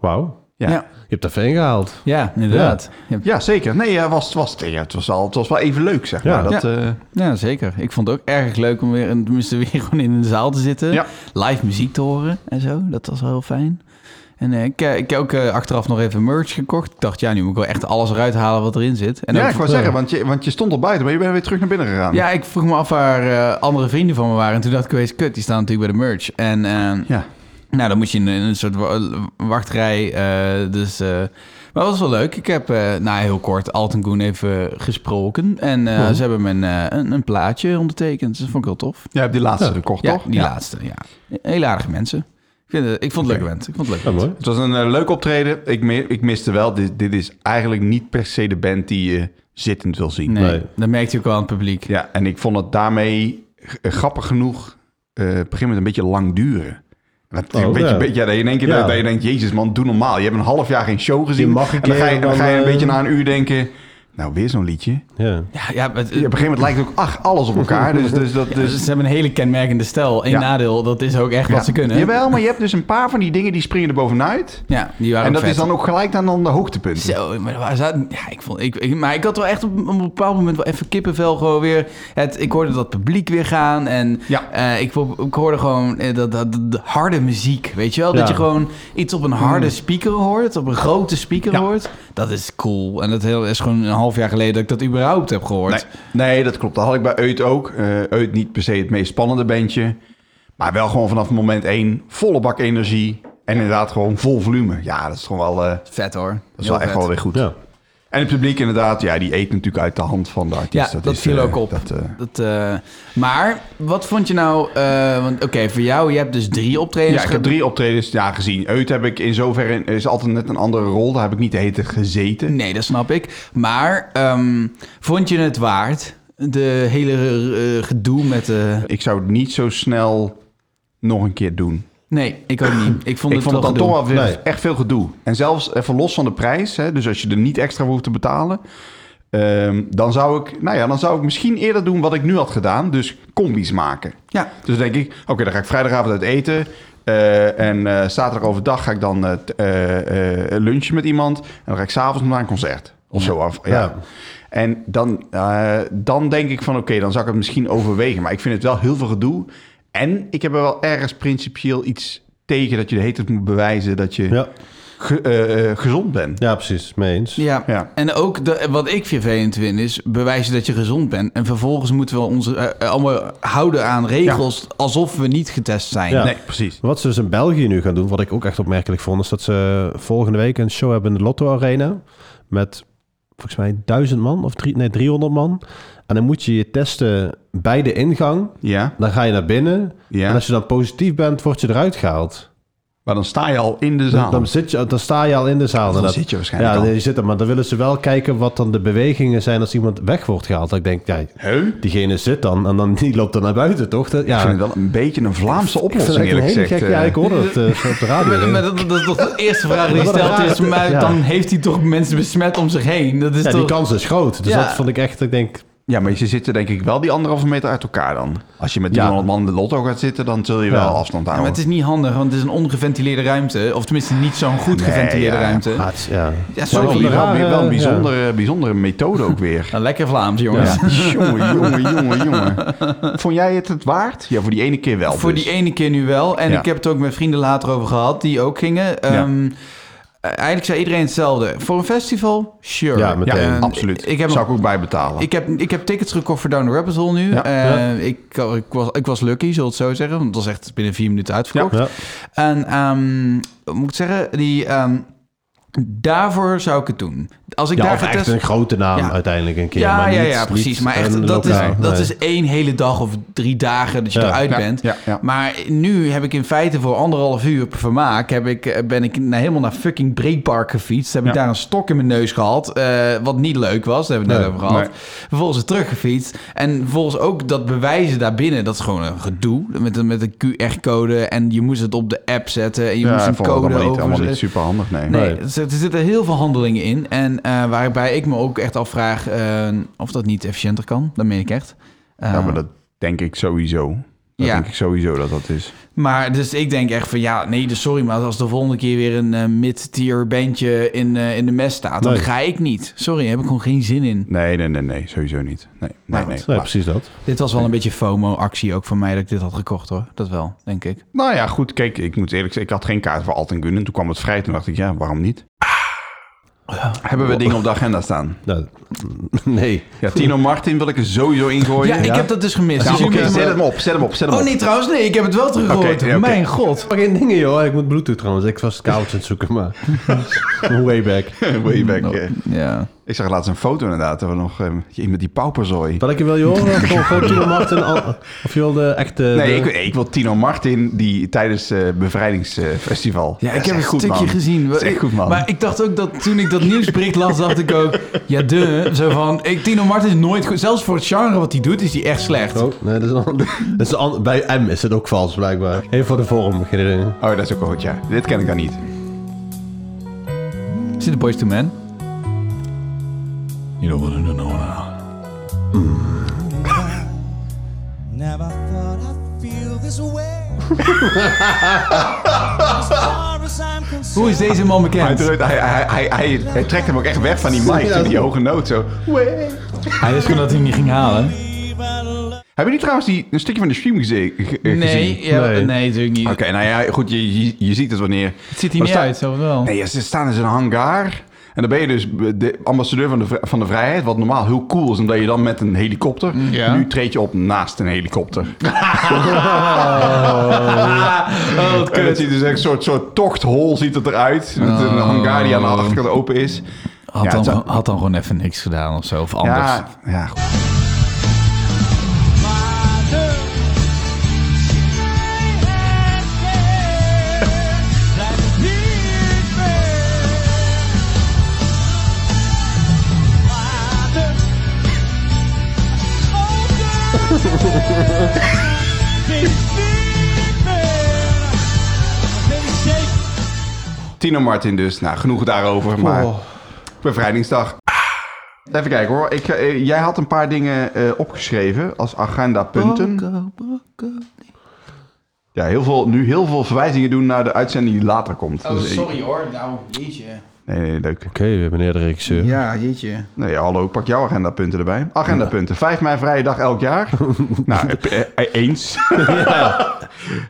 Speaker 4: Wauw.
Speaker 3: ja.
Speaker 2: Ja.
Speaker 3: Ja.
Speaker 4: Je hebt dat ver gehaald.
Speaker 2: Ja, inderdaad. Ja.
Speaker 3: zeker. Nee, ja, was, was, ja, het, was al, het was wel even leuk, zeg
Speaker 4: Ja.
Speaker 3: maar. Dat,
Speaker 2: Ja.
Speaker 3: eh,
Speaker 2: Ja, zeker. Ik vond het ook erg leuk om weer, en tenminste, weer gewoon in de zaal te zitten.
Speaker 3: Ja.
Speaker 2: Live muziek te horen en zo. Dat was wel heel fijn. En eh, ik, eh, ik heb ook eh, achteraf nog even merch gekocht. Ik dacht, ja, nu moet ik wel echt alles eruit halen wat erin zit. En
Speaker 3: ja,
Speaker 2: ook-
Speaker 3: ik wou zeggen, want je, want je stond al buiten, maar je bent weer terug naar binnen gegaan.
Speaker 2: ja, ik vroeg me af waar eh, andere vrienden van me waren. En toen dacht ik opeens, kut, die staan natuurlijk bij de merch. En eh,
Speaker 3: Ja.
Speaker 2: nou, dan moest je in een, een soort wa- wachtrij. eh, dus, eh, maar dat was wel leuk. Ik heb eh, na heel kort Alten Goen even gesproken. En eh,
Speaker 4: Oh.
Speaker 2: ze hebben me een, eh, een, een plaatje ondertekend. Dus dat vond ik heel tof.
Speaker 3: Jij hebt die laatste
Speaker 4: Ja.
Speaker 3: gekocht,
Speaker 2: Ja,
Speaker 3: toch?
Speaker 2: die laatste, ja. Heel aardige mensen. Ik, vind het, ik vond het
Speaker 3: Oké.
Speaker 2: leuk event. Ik vond het leuk.
Speaker 4: Ja, mooi.
Speaker 3: Het was een eh, leuk optreden. Ik, mi- ik miste wel, dit, dit is eigenlijk niet per se de band die je zittend wil zien.
Speaker 2: Nee,
Speaker 4: Nee.
Speaker 2: dat merkte je ook wel aan het publiek.
Speaker 3: Ja, en ik vond het daarmee g- eh, grappig genoeg eh, op een gegeven moment een beetje lang duren. Dat,
Speaker 4: Oh,
Speaker 3: een beetje,
Speaker 4: ja.
Speaker 3: beetje, ja, dat je in één keer
Speaker 4: Ja.
Speaker 3: dat, dat je denkt, jezus man, doe normaal. Je hebt een half jaar geen show gezien.
Speaker 4: mag een
Speaker 3: en dan
Speaker 4: keer
Speaker 3: ga je, en dan
Speaker 4: dan,
Speaker 3: ga je een
Speaker 4: eh,
Speaker 3: beetje na een uur denken, nou weer zo'n liedje.
Speaker 4: Ja.
Speaker 2: Ja, ja, maar het-
Speaker 3: Op een gegeven moment lijkt ook ach, alles op elkaar. Dus, dus dat,
Speaker 2: dus
Speaker 3: dus,
Speaker 2: ze hebben een hele kenmerkende stijl. Eén
Speaker 3: Ja.
Speaker 2: nadeel, dat is ook echt
Speaker 3: ja.
Speaker 2: wat ze kunnen.
Speaker 3: Jawel, maar je hebt dus een paar van die dingen die springen er bovenuit.
Speaker 2: Ja, die waren
Speaker 3: En
Speaker 2: ook
Speaker 3: dat
Speaker 2: vet.
Speaker 3: is dan ook gelijk dan, dan de hoogtepunten.
Speaker 2: Zo, maar waar zaten... Ja, ik vond... Ik, ik- maar ik had wel echt op een bepaald moment wel even kippenvel gewoon weer... Het, ik hoorde dat publiek weer gaan en
Speaker 3: Ja.
Speaker 2: eh, ik, vo- ik hoorde gewoon eh, dat, dat, dat- de harde muziek, weet je wel? Dat
Speaker 4: Ja.
Speaker 2: je gewoon iets op een harde speaker hoort, op een grote speaker
Speaker 3: Mm. Ja.
Speaker 2: hoort. Dat is cool. En dat heel, is gewoon een half jaar geleden dat ik dat überhaupt heb gehoord.
Speaker 3: Nee, nee, dat klopt. Dat had ik bij Eut ook. Eh Eut niet per se het meest spannende bandje. Maar wel gewoon vanaf moment één volle bak energie. En inderdaad gewoon vol volume. Ja, dat is gewoon wel, eh,
Speaker 2: Vet hoor.
Speaker 3: dat is wel echt wel weer goed.
Speaker 4: Ja.
Speaker 3: En het publiek inderdaad, ja, die eet natuurlijk uit de hand van de artiest.
Speaker 2: Ja, dat,
Speaker 3: is,
Speaker 2: viel
Speaker 3: eh,
Speaker 2: ook op.
Speaker 3: dat, eh,
Speaker 2: Dat, eh, maar wat vond je nou... eh, want oké, voor jou, je hebt dus drie optredens
Speaker 3: ja, ik heb
Speaker 2: ge-
Speaker 3: drie optredens ja, gezien. Eut heb ik in zoverre, is altijd net een andere rol. Daar heb ik niet de hele tijd gezeten.
Speaker 2: Nee, dat snap ik. Maar ehm, vond je het waard? De hele eh, gedoe met de...
Speaker 3: Ik zou het niet zo snel nog een keer doen.
Speaker 2: Nee, ik ook niet. Ik vond
Speaker 3: Ik
Speaker 2: het
Speaker 3: vond het
Speaker 2: wel
Speaker 3: dan toch
Speaker 2: gedoe.
Speaker 3: wel weer
Speaker 4: Nee.
Speaker 3: echt veel gedoe. En zelfs even los van de prijs, hè, dus als je er niet extra voor hoeft te betalen, ehm, dan, zou ik, nou ja, dan zou ik misschien eerder doen wat ik nu had gedaan. Dus combi's maken.
Speaker 2: Ja.
Speaker 3: Dus denk ik, oké, dan ga ik vrijdagavond uit eten. eh, en eh, zaterdag overdag ga ik dan eh, t- eh, eh, lunchen met iemand. En dan ga ik s'avonds naar een concert. Of zo. Of, ja.
Speaker 4: Ja.
Speaker 3: En dan, eh, dan denk ik van oké, dan zou ik het misschien overwegen. Maar ik vind het wel heel veel gedoe. En ik heb er wel ergens principieel iets tegen dat je de hele tijd moet bewijzen dat je
Speaker 4: Ja.
Speaker 3: ge- eh, eh, gezond bent.
Speaker 4: ja, precies. Mee eens.
Speaker 2: Ja.
Speaker 3: Ja.
Speaker 2: en ook de, wat ik vervelend vind is bewijzen dat je gezond bent. En vervolgens moeten we ons eh, eh, allemaal houden aan regels alsof we niet getest zijn.
Speaker 4: Ja.
Speaker 3: Nee, precies.
Speaker 4: Wat ze dus in België nu gaan doen, wat ik ook echt opmerkelijk vond, is dat ze volgende week een show hebben in de Lotto Arena met volgens mij 1000 man of drie, nee, 300 man. En dan moet je je testen bij de ingang.
Speaker 3: Ja,
Speaker 4: Dan ga je naar binnen. En
Speaker 3: ja.
Speaker 4: als je dan positief bent, word je eruit gehaald.
Speaker 3: Maar dan sta je al in de
Speaker 4: Dan,
Speaker 3: zaal.
Speaker 4: dan, zit je, dan sta je al in de zaal.
Speaker 3: dan
Speaker 4: En dat-
Speaker 3: zit je waarschijnlijk
Speaker 4: ja,
Speaker 3: al.
Speaker 4: je zit er. Maar dan willen ze wel kijken wat dan de bewegingen zijn als iemand weg wordt gehaald. Dat ik denk, ja,
Speaker 3: Heu? Ik
Speaker 4: diegene zit dan en dan die loopt dan naar buiten, toch? Dat, ja,
Speaker 3: vind het wel een beetje een Vlaamse
Speaker 4: Ik vind
Speaker 3: oplossing,
Speaker 4: het echt
Speaker 3: eerlijk
Speaker 4: een hele
Speaker 3: gezegd.
Speaker 4: gekke...
Speaker 3: eh.
Speaker 4: Ja, ik hoorde het eh, op de radio.
Speaker 2: Maar dat, dat is toch de eerste vraag die
Speaker 4: Wat een
Speaker 2: gesteld
Speaker 4: raar-
Speaker 2: is. Maar
Speaker 4: ja.
Speaker 2: dan heeft hij toch mensen besmet om zich heen. Dat is
Speaker 4: Ja,
Speaker 2: toch...
Speaker 4: die kans is groot. Dus
Speaker 2: Ja.
Speaker 4: dat vond ik echt, ik denk...
Speaker 3: Ja, maar ze zitten denk ik wel die anderhalve meter uit elkaar dan. Als je met
Speaker 4: Ja.
Speaker 3: 300 man in de lotto gaat zitten, dan zul je
Speaker 4: Ja.
Speaker 3: wel afstand
Speaker 2: Ja, maar
Speaker 3: houden.
Speaker 2: het is niet handig, want het is een ongeventileerde ruimte. Of tenminste niet zo'n goed
Speaker 3: Nee,
Speaker 2: geventileerde
Speaker 3: ja.
Speaker 2: ruimte.
Speaker 4: Ah, het is- ja.
Speaker 2: Ja,
Speaker 3: Zo
Speaker 2: sorry.
Speaker 3: wel,
Speaker 4: rare-
Speaker 3: weer wel een
Speaker 4: ja.
Speaker 3: bijzondere, bijzondere methode ook weer.
Speaker 2: Nou, lekker Vlaams, jongens.
Speaker 3: Ja. jongen, jongen, jongen, jongen. Vond jij het het waard? Ja, voor die ene keer wel.
Speaker 2: Voor
Speaker 3: dus.
Speaker 2: die ene keer nu wel. En
Speaker 3: Ja.
Speaker 2: ik heb het ook met vrienden later over gehad, die ook gingen. Ehm, Eigenlijk zei iedereen hetzelfde. Voor een festival? Sure.
Speaker 4: Ja, meteen.
Speaker 3: Ja,
Speaker 2: En
Speaker 3: absoluut.
Speaker 2: Ik heb,
Speaker 3: Zou ik ook bijbetalen.
Speaker 2: ik, heb, ik heb tickets gekocht voor Down the Rabbit Hole nu.
Speaker 3: Ja.
Speaker 2: Eh,
Speaker 4: Ja.
Speaker 2: Ik, ik, was, ik was lucky, zul ik het zo zeggen. Want het was echt binnen vier minuten uitverkocht.
Speaker 4: Ja.
Speaker 2: En ehm, wat moet ik zeggen, die, ehm, daarvoor zou ik het doen. Als ik
Speaker 4: Ja,
Speaker 2: daar
Speaker 4: of echt
Speaker 2: getest...
Speaker 4: een grote naam
Speaker 2: Ja.
Speaker 4: uiteindelijk een keer.
Speaker 2: Ja,
Speaker 4: maar
Speaker 2: ja,
Speaker 4: niet-
Speaker 2: ja, precies.
Speaker 4: niet
Speaker 2: maar echt,
Speaker 4: een
Speaker 2: dat, is,
Speaker 4: lokaal.
Speaker 2: dat
Speaker 4: Nee.
Speaker 2: is één hele dag of drie dagen dat je
Speaker 4: Ja.
Speaker 2: eruit
Speaker 3: Ja,
Speaker 2: bent.
Speaker 3: ja, ja.
Speaker 2: Maar nu heb ik in feite voor anderhalf uur per vermaak... Heb ik, eh, ben ik na- helemaal naar fucking Breekpark gefietst. Heb ik
Speaker 3: Ja.
Speaker 2: daar een stok in mijn neus gehad. eh, wat niet leuk was, daar hebben we het net
Speaker 4: Nee,
Speaker 2: over gehad.
Speaker 3: nee.
Speaker 2: Vervolgens is teruggefietst. En vervolgens ook dat bewijzen daarbinnen. Dat is gewoon een gedoe. Met een, met een QR-code. En je moest het op de app zetten. En je
Speaker 3: ja,
Speaker 2: moest
Speaker 3: ik
Speaker 2: een
Speaker 3: vond het
Speaker 2: code
Speaker 3: allemaal niet,
Speaker 2: over...
Speaker 3: allemaal niet super handig, nee.
Speaker 2: Nee,
Speaker 4: Nee.
Speaker 2: er zit- er zitten heel veel handelingen in. En eh, waarbij ik me ook echt afvraag eh, of dat niet efficiënter kan. Dat meen ik echt. Eh,
Speaker 3: Ja, maar dat denk ik sowieso. Dat
Speaker 2: Ja.
Speaker 3: denk ik sowieso dat dat is.
Speaker 2: maar dus ik denk echt van ja, nee, dus sorry, maar als de volgende keer weer een eh, mid-tier bandje in, eh, in de mes staat, dan
Speaker 4: Nee.
Speaker 2: ga ik niet. Sorry, daar heb ik gewoon geen zin in.
Speaker 3: Nee, nee, nee, nee. Sowieso niet. Nee,
Speaker 2: Nou,
Speaker 3: nee, nee.
Speaker 4: Nee,
Speaker 3: Maar-
Speaker 4: precies dat.
Speaker 2: Dit was wel een beetje FOMO-actie ook van mij dat ik dit had gekocht hoor. Dat wel, denk ik.
Speaker 3: Nou ja, goed. Kijk, ik moet eerlijk zeggen, ik had geen kaart voor Alten Gunnen. Toen kwam het vrij. Toen dacht ik, ja, waarom niet? Hebben we dingen op de agenda staan?
Speaker 4: Nou, nee.
Speaker 3: Ja, Tino Martin wil ik er sowieso ingooien.
Speaker 2: Ja, ik heb dat dus gemist.
Speaker 3: Ja,
Speaker 2: Dus
Speaker 3: Oké,
Speaker 2: jullie
Speaker 3: zet
Speaker 2: hebben-
Speaker 3: hem op, zet hem op, zet hem
Speaker 2: Oh
Speaker 3: op.
Speaker 2: nee, trouwens, nee, ik heb het wel teruggehoord.
Speaker 3: Oké, ja, oké.
Speaker 2: Mijn god.
Speaker 4: Maar geen dingen, joh. Ik moet Bluetooth trouwens. Ik was koud aan het zoeken, maar... Way back.
Speaker 3: Way back,
Speaker 2: Oh.
Speaker 3: eh.
Speaker 2: Ja.
Speaker 3: Ik zag laatst een foto inderdaad, waar nog eh, iemand die pauperzooi.
Speaker 4: Wat ik wil je horen? Gewoon gewoon Tino Martin. al- Of je wil de echte...
Speaker 2: eh,
Speaker 3: Nee,
Speaker 4: de-
Speaker 3: ik, ik wil Tino Martin die tijdens eh bevrijdingsfestival.
Speaker 2: Ja, ik heb een
Speaker 3: het
Speaker 2: stukje gezien.
Speaker 3: Dat is echt goed, man.
Speaker 2: Maar ik dacht ook dat toen ik dat nieuwsbericht las, dacht ik ook... Ja, de. Zo van, ik, Tino Martin is nooit goed. Zelfs voor het genre wat hij doet, is hij echt slecht.
Speaker 4: Oh, nee, dat is een ander- dat is een ander- Bij M is het ook vals, blijkbaar. Even voor de vorm. Geen idee.
Speaker 3: Oh, dat is ook wel goed, ja. Dit ken ik dan niet.
Speaker 2: Zit de Boys to Men? You know what I know
Speaker 5: Never thought I'd feel this way. as far as I'm concerned,
Speaker 2: Hoe is deze man
Speaker 3: Hij,
Speaker 2: bekend?
Speaker 3: drukt- hij, hij, hij, hij, hij trekt hem ook echt weg van die mic,
Speaker 4: Ja.
Speaker 3: zo die hoge noot. Zo.
Speaker 2: Hij wist gewoon dat hij hem niet ging halen.
Speaker 3: Hebben jullie trouwens die, een stukje van de stream geze- ge- eh, gezien?
Speaker 2: Nee, ja, nee.
Speaker 4: Nee.
Speaker 2: natuurlijk niet.
Speaker 3: Oké, nou ja, goed, je, je, je ziet het wanneer...
Speaker 2: Het ziet
Speaker 3: Maar
Speaker 2: hij niet
Speaker 3: sta-
Speaker 2: uit, zo wel.
Speaker 3: Nee, ze staan dus in zo'n hangar. En dan ben je dus de ambassadeur van de, vri- van de vrijheid. Wat normaal heel cool is, omdat je dan met een helikopter...
Speaker 2: Mm. Ja.
Speaker 3: Nu treed je op naast een helikopter.
Speaker 2: Oh, wat
Speaker 3: En dat
Speaker 2: kut.
Speaker 3: ziet dus echt een soort, soort tochthol ziet het eruit. Met een hangar die aan de achterkant open is.
Speaker 2: Had
Speaker 3: Ja,
Speaker 2: dan,
Speaker 3: het zou-
Speaker 2: gewoon- had dan gewoon even niks gedaan of zo, of anders.
Speaker 3: Ja, ja, goed.
Speaker 5: mother, she had hair like a big bear. Mother, oh girl, big, big bear. They shake
Speaker 3: Tino Martin dus. Nou, genoeg daarover. Maar
Speaker 4: Oh.
Speaker 3: bevrijdingsdag. Even kijken hoor. Ik, eh, jij had een paar dingen eh, opgeschreven als agendapunten. Ja, heel veel, nu heel veel verwijzingen doen naar de uitzending die later komt. Dus, eh,
Speaker 2: Oh, hoor, nou, jeetje.
Speaker 3: Nee, nee, leuk.
Speaker 4: Oké, meneer de regisseur.
Speaker 2: Ja, jeetje.
Speaker 3: Nee, hallo, pak jouw agendapunten erbij. Agendapunten. 5 mei vrije dag elk jaar. nou, eh, eh, eens.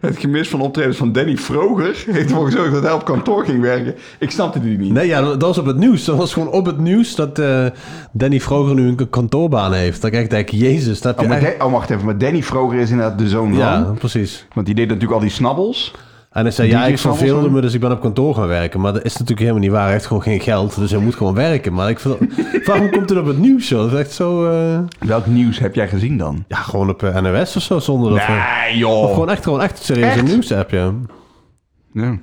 Speaker 3: Het gemis van optredens van Danny Vroger heeft ervoor gezorgd dat hij op kantoor ging werken. Ik snapte die niet.
Speaker 4: Nee, ja, dat was op het nieuws. Dat was gewoon op het nieuws dat eh, Danny Vroger nu een kantoorbaan heeft. Dat ik echt denk, jezus, dat heb
Speaker 3: Oh,
Speaker 4: je
Speaker 3: maar
Speaker 4: echt...
Speaker 3: Dan- oh, wacht even. Maar Danny Vroger is inderdaad de zoon van.
Speaker 4: Ja, precies.
Speaker 3: Want die deed natuurlijk al die snabbels.
Speaker 4: En hij zei, ja,
Speaker 3: DJ
Speaker 4: ik
Speaker 3: Samuelson?
Speaker 4: verveelde me, dus ik ben op kantoor gaan werken. Maar dat is natuurlijk helemaal niet waar. Hij heeft gewoon geen geld, dus hij moet gewoon werken. Maar ik vond, waarom komt het op het nieuws, joh? Dat is echt zo... eh,
Speaker 3: Welk nieuws heb jij gezien dan?
Speaker 4: ja, gewoon op eh, NOS of zo, zonder dat... eh, Oh, we-
Speaker 3: Nee, joh.
Speaker 4: Gewoon echt, gewoon echt serieuze
Speaker 3: Echt?
Speaker 4: nieuwsapp, ja.
Speaker 3: Ja.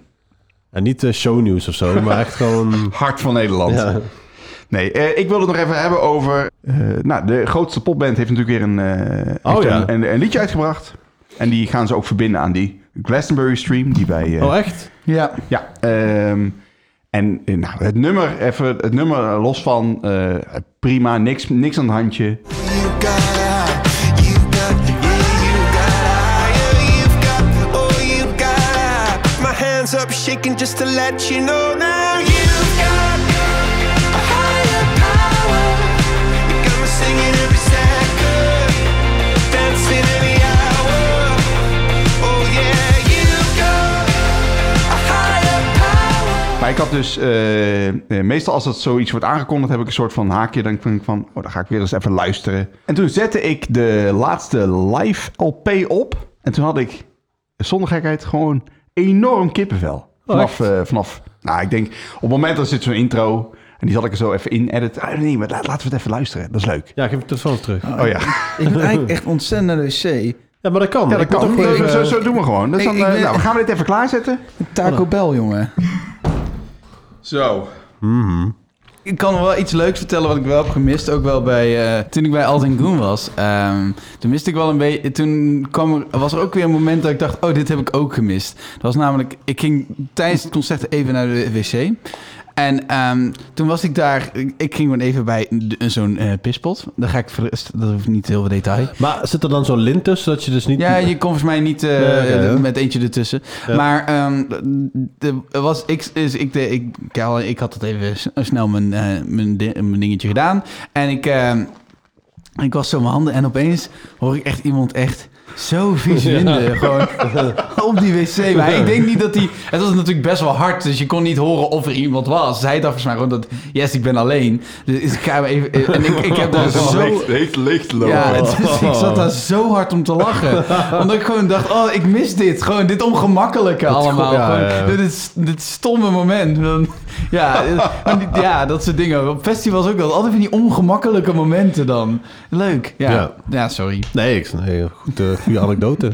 Speaker 4: En niet eh, shownieuws of zo, maar echt gewoon...
Speaker 3: Hart van Nederland.
Speaker 4: Ja.
Speaker 3: Nee, eh, ik wil het nog even hebben over... eh, nou, de grootste popband heeft natuurlijk weer een, eh,
Speaker 4: Oh,
Speaker 3: heeft
Speaker 4: ja.
Speaker 3: een, een, een liedje uitgebracht. En die gaan ze ook verbinden aan die Glastonbury stream die bij... eh,
Speaker 4: Oh, echt?
Speaker 2: Ja.
Speaker 3: Ja. ehm, en eh, nou, het nummer, even het nummer eh, los van eh, prima, niks, niks aan het handje.
Speaker 5: If
Speaker 6: you got eye. You got, yeah, you got eye. Yeah, you've got, oh, you got eye. My hands up shaking just to let you know now. You've got a higher power. You got me singing every second, dancing every hour. Oh, yeah, you've got a higher power.
Speaker 3: Maar ik had dus, eh, eh, meestal als dat zoiets wordt aangekondigd, heb ik een soort van haakje. Dan denk ik van, oh, dan ga ik weer eens even luisteren. En toen zette ik de laatste live LP op. En toen had ik, zonder gekheid, gewoon enorm kippenvel. Vanaf, eh, vanaf nou, ik denk, op het moment dat zit zo'n intro. En die zal ik er zo even in editen. Ah, nee, maar laat- laten we het even luisteren. Dat is leuk.
Speaker 4: Ja, geef de telefoon terug.
Speaker 3: Oh ja,
Speaker 2: Ik ben eigenlijk echt ontzettend naar de wc.
Speaker 4: Ja, maar dat kan.
Speaker 3: ja dat
Speaker 4: Ik moet
Speaker 3: kan.
Speaker 4: toch even-
Speaker 3: Zo, zo doen we gewoon. Dus
Speaker 2: Ik-
Speaker 3: dan,
Speaker 2: ik
Speaker 3: eh,
Speaker 2: ben-
Speaker 3: nou, we gaan we dit even klaarzetten.
Speaker 2: Taco Bell, jongen.
Speaker 3: Zo.
Speaker 2: Ik kan wel iets leuks vertellen wat ik wel heb gemist. Ook wel bij, eh, toen ik bij Alden Groen was. Ehm, toen miste ik wel een beetje... Toen kwam er, was er ook weer een moment dat ik dacht... Oh, dit heb ik ook gemist. Dat was namelijk... Ik ging tijdens het concert even naar de wc. En ehm, toen was ik daar... Ik, ik ging gewoon even bij de- zo'n eh pispot. Daar ga ik... voor de rest- Dat hoeft niet heel veel detail.
Speaker 4: Maar zit er dan zo'n lint tussen, dat je dus niet...
Speaker 2: Ja, je kon volgens mij niet eh,
Speaker 4: Nee, oké.
Speaker 2: eh, met eentje ertussen.
Speaker 4: Ja.
Speaker 2: Maar ehm, de- er was, ik, is, ik, de, ik, ik, had- ik had het even s- snel mijn, eh, mijn, di- mijn dingetje gedaan. En ik, ehm, ik was zo mijn handen en opeens hoor ik echt iemand echt zo vies winden. Gewoon op die wc. Maar ik denk niet dat die... Het was natuurlijk best wel hard, dus je kon niet horen of er iemand was. Zij dacht volgens mij gewoon dat, yes, ik ben alleen. Dus ik ga even... En ik, ik heb daar
Speaker 4: Oh,
Speaker 2: zo... Ja, het is- ik zat daar zo hard om te lachen. Omdat ik gewoon dacht, oh, ik mis dit. Gewoon dit ongemakkelijke allemaal.
Speaker 4: ja,
Speaker 2: Gewoon
Speaker 4: ja, ja.
Speaker 2: Dit, is- dit stomme moment. Dan- Ja, eh, en die- ja, dat soort dingen. Op festivals ook wel. Altijd van die ongemakkelijke momenten dan. Leuk. Ja, ja.
Speaker 4: Ja.
Speaker 2: sorry.
Speaker 4: Nee, ik... Nee, goed, eh, goede anekdote.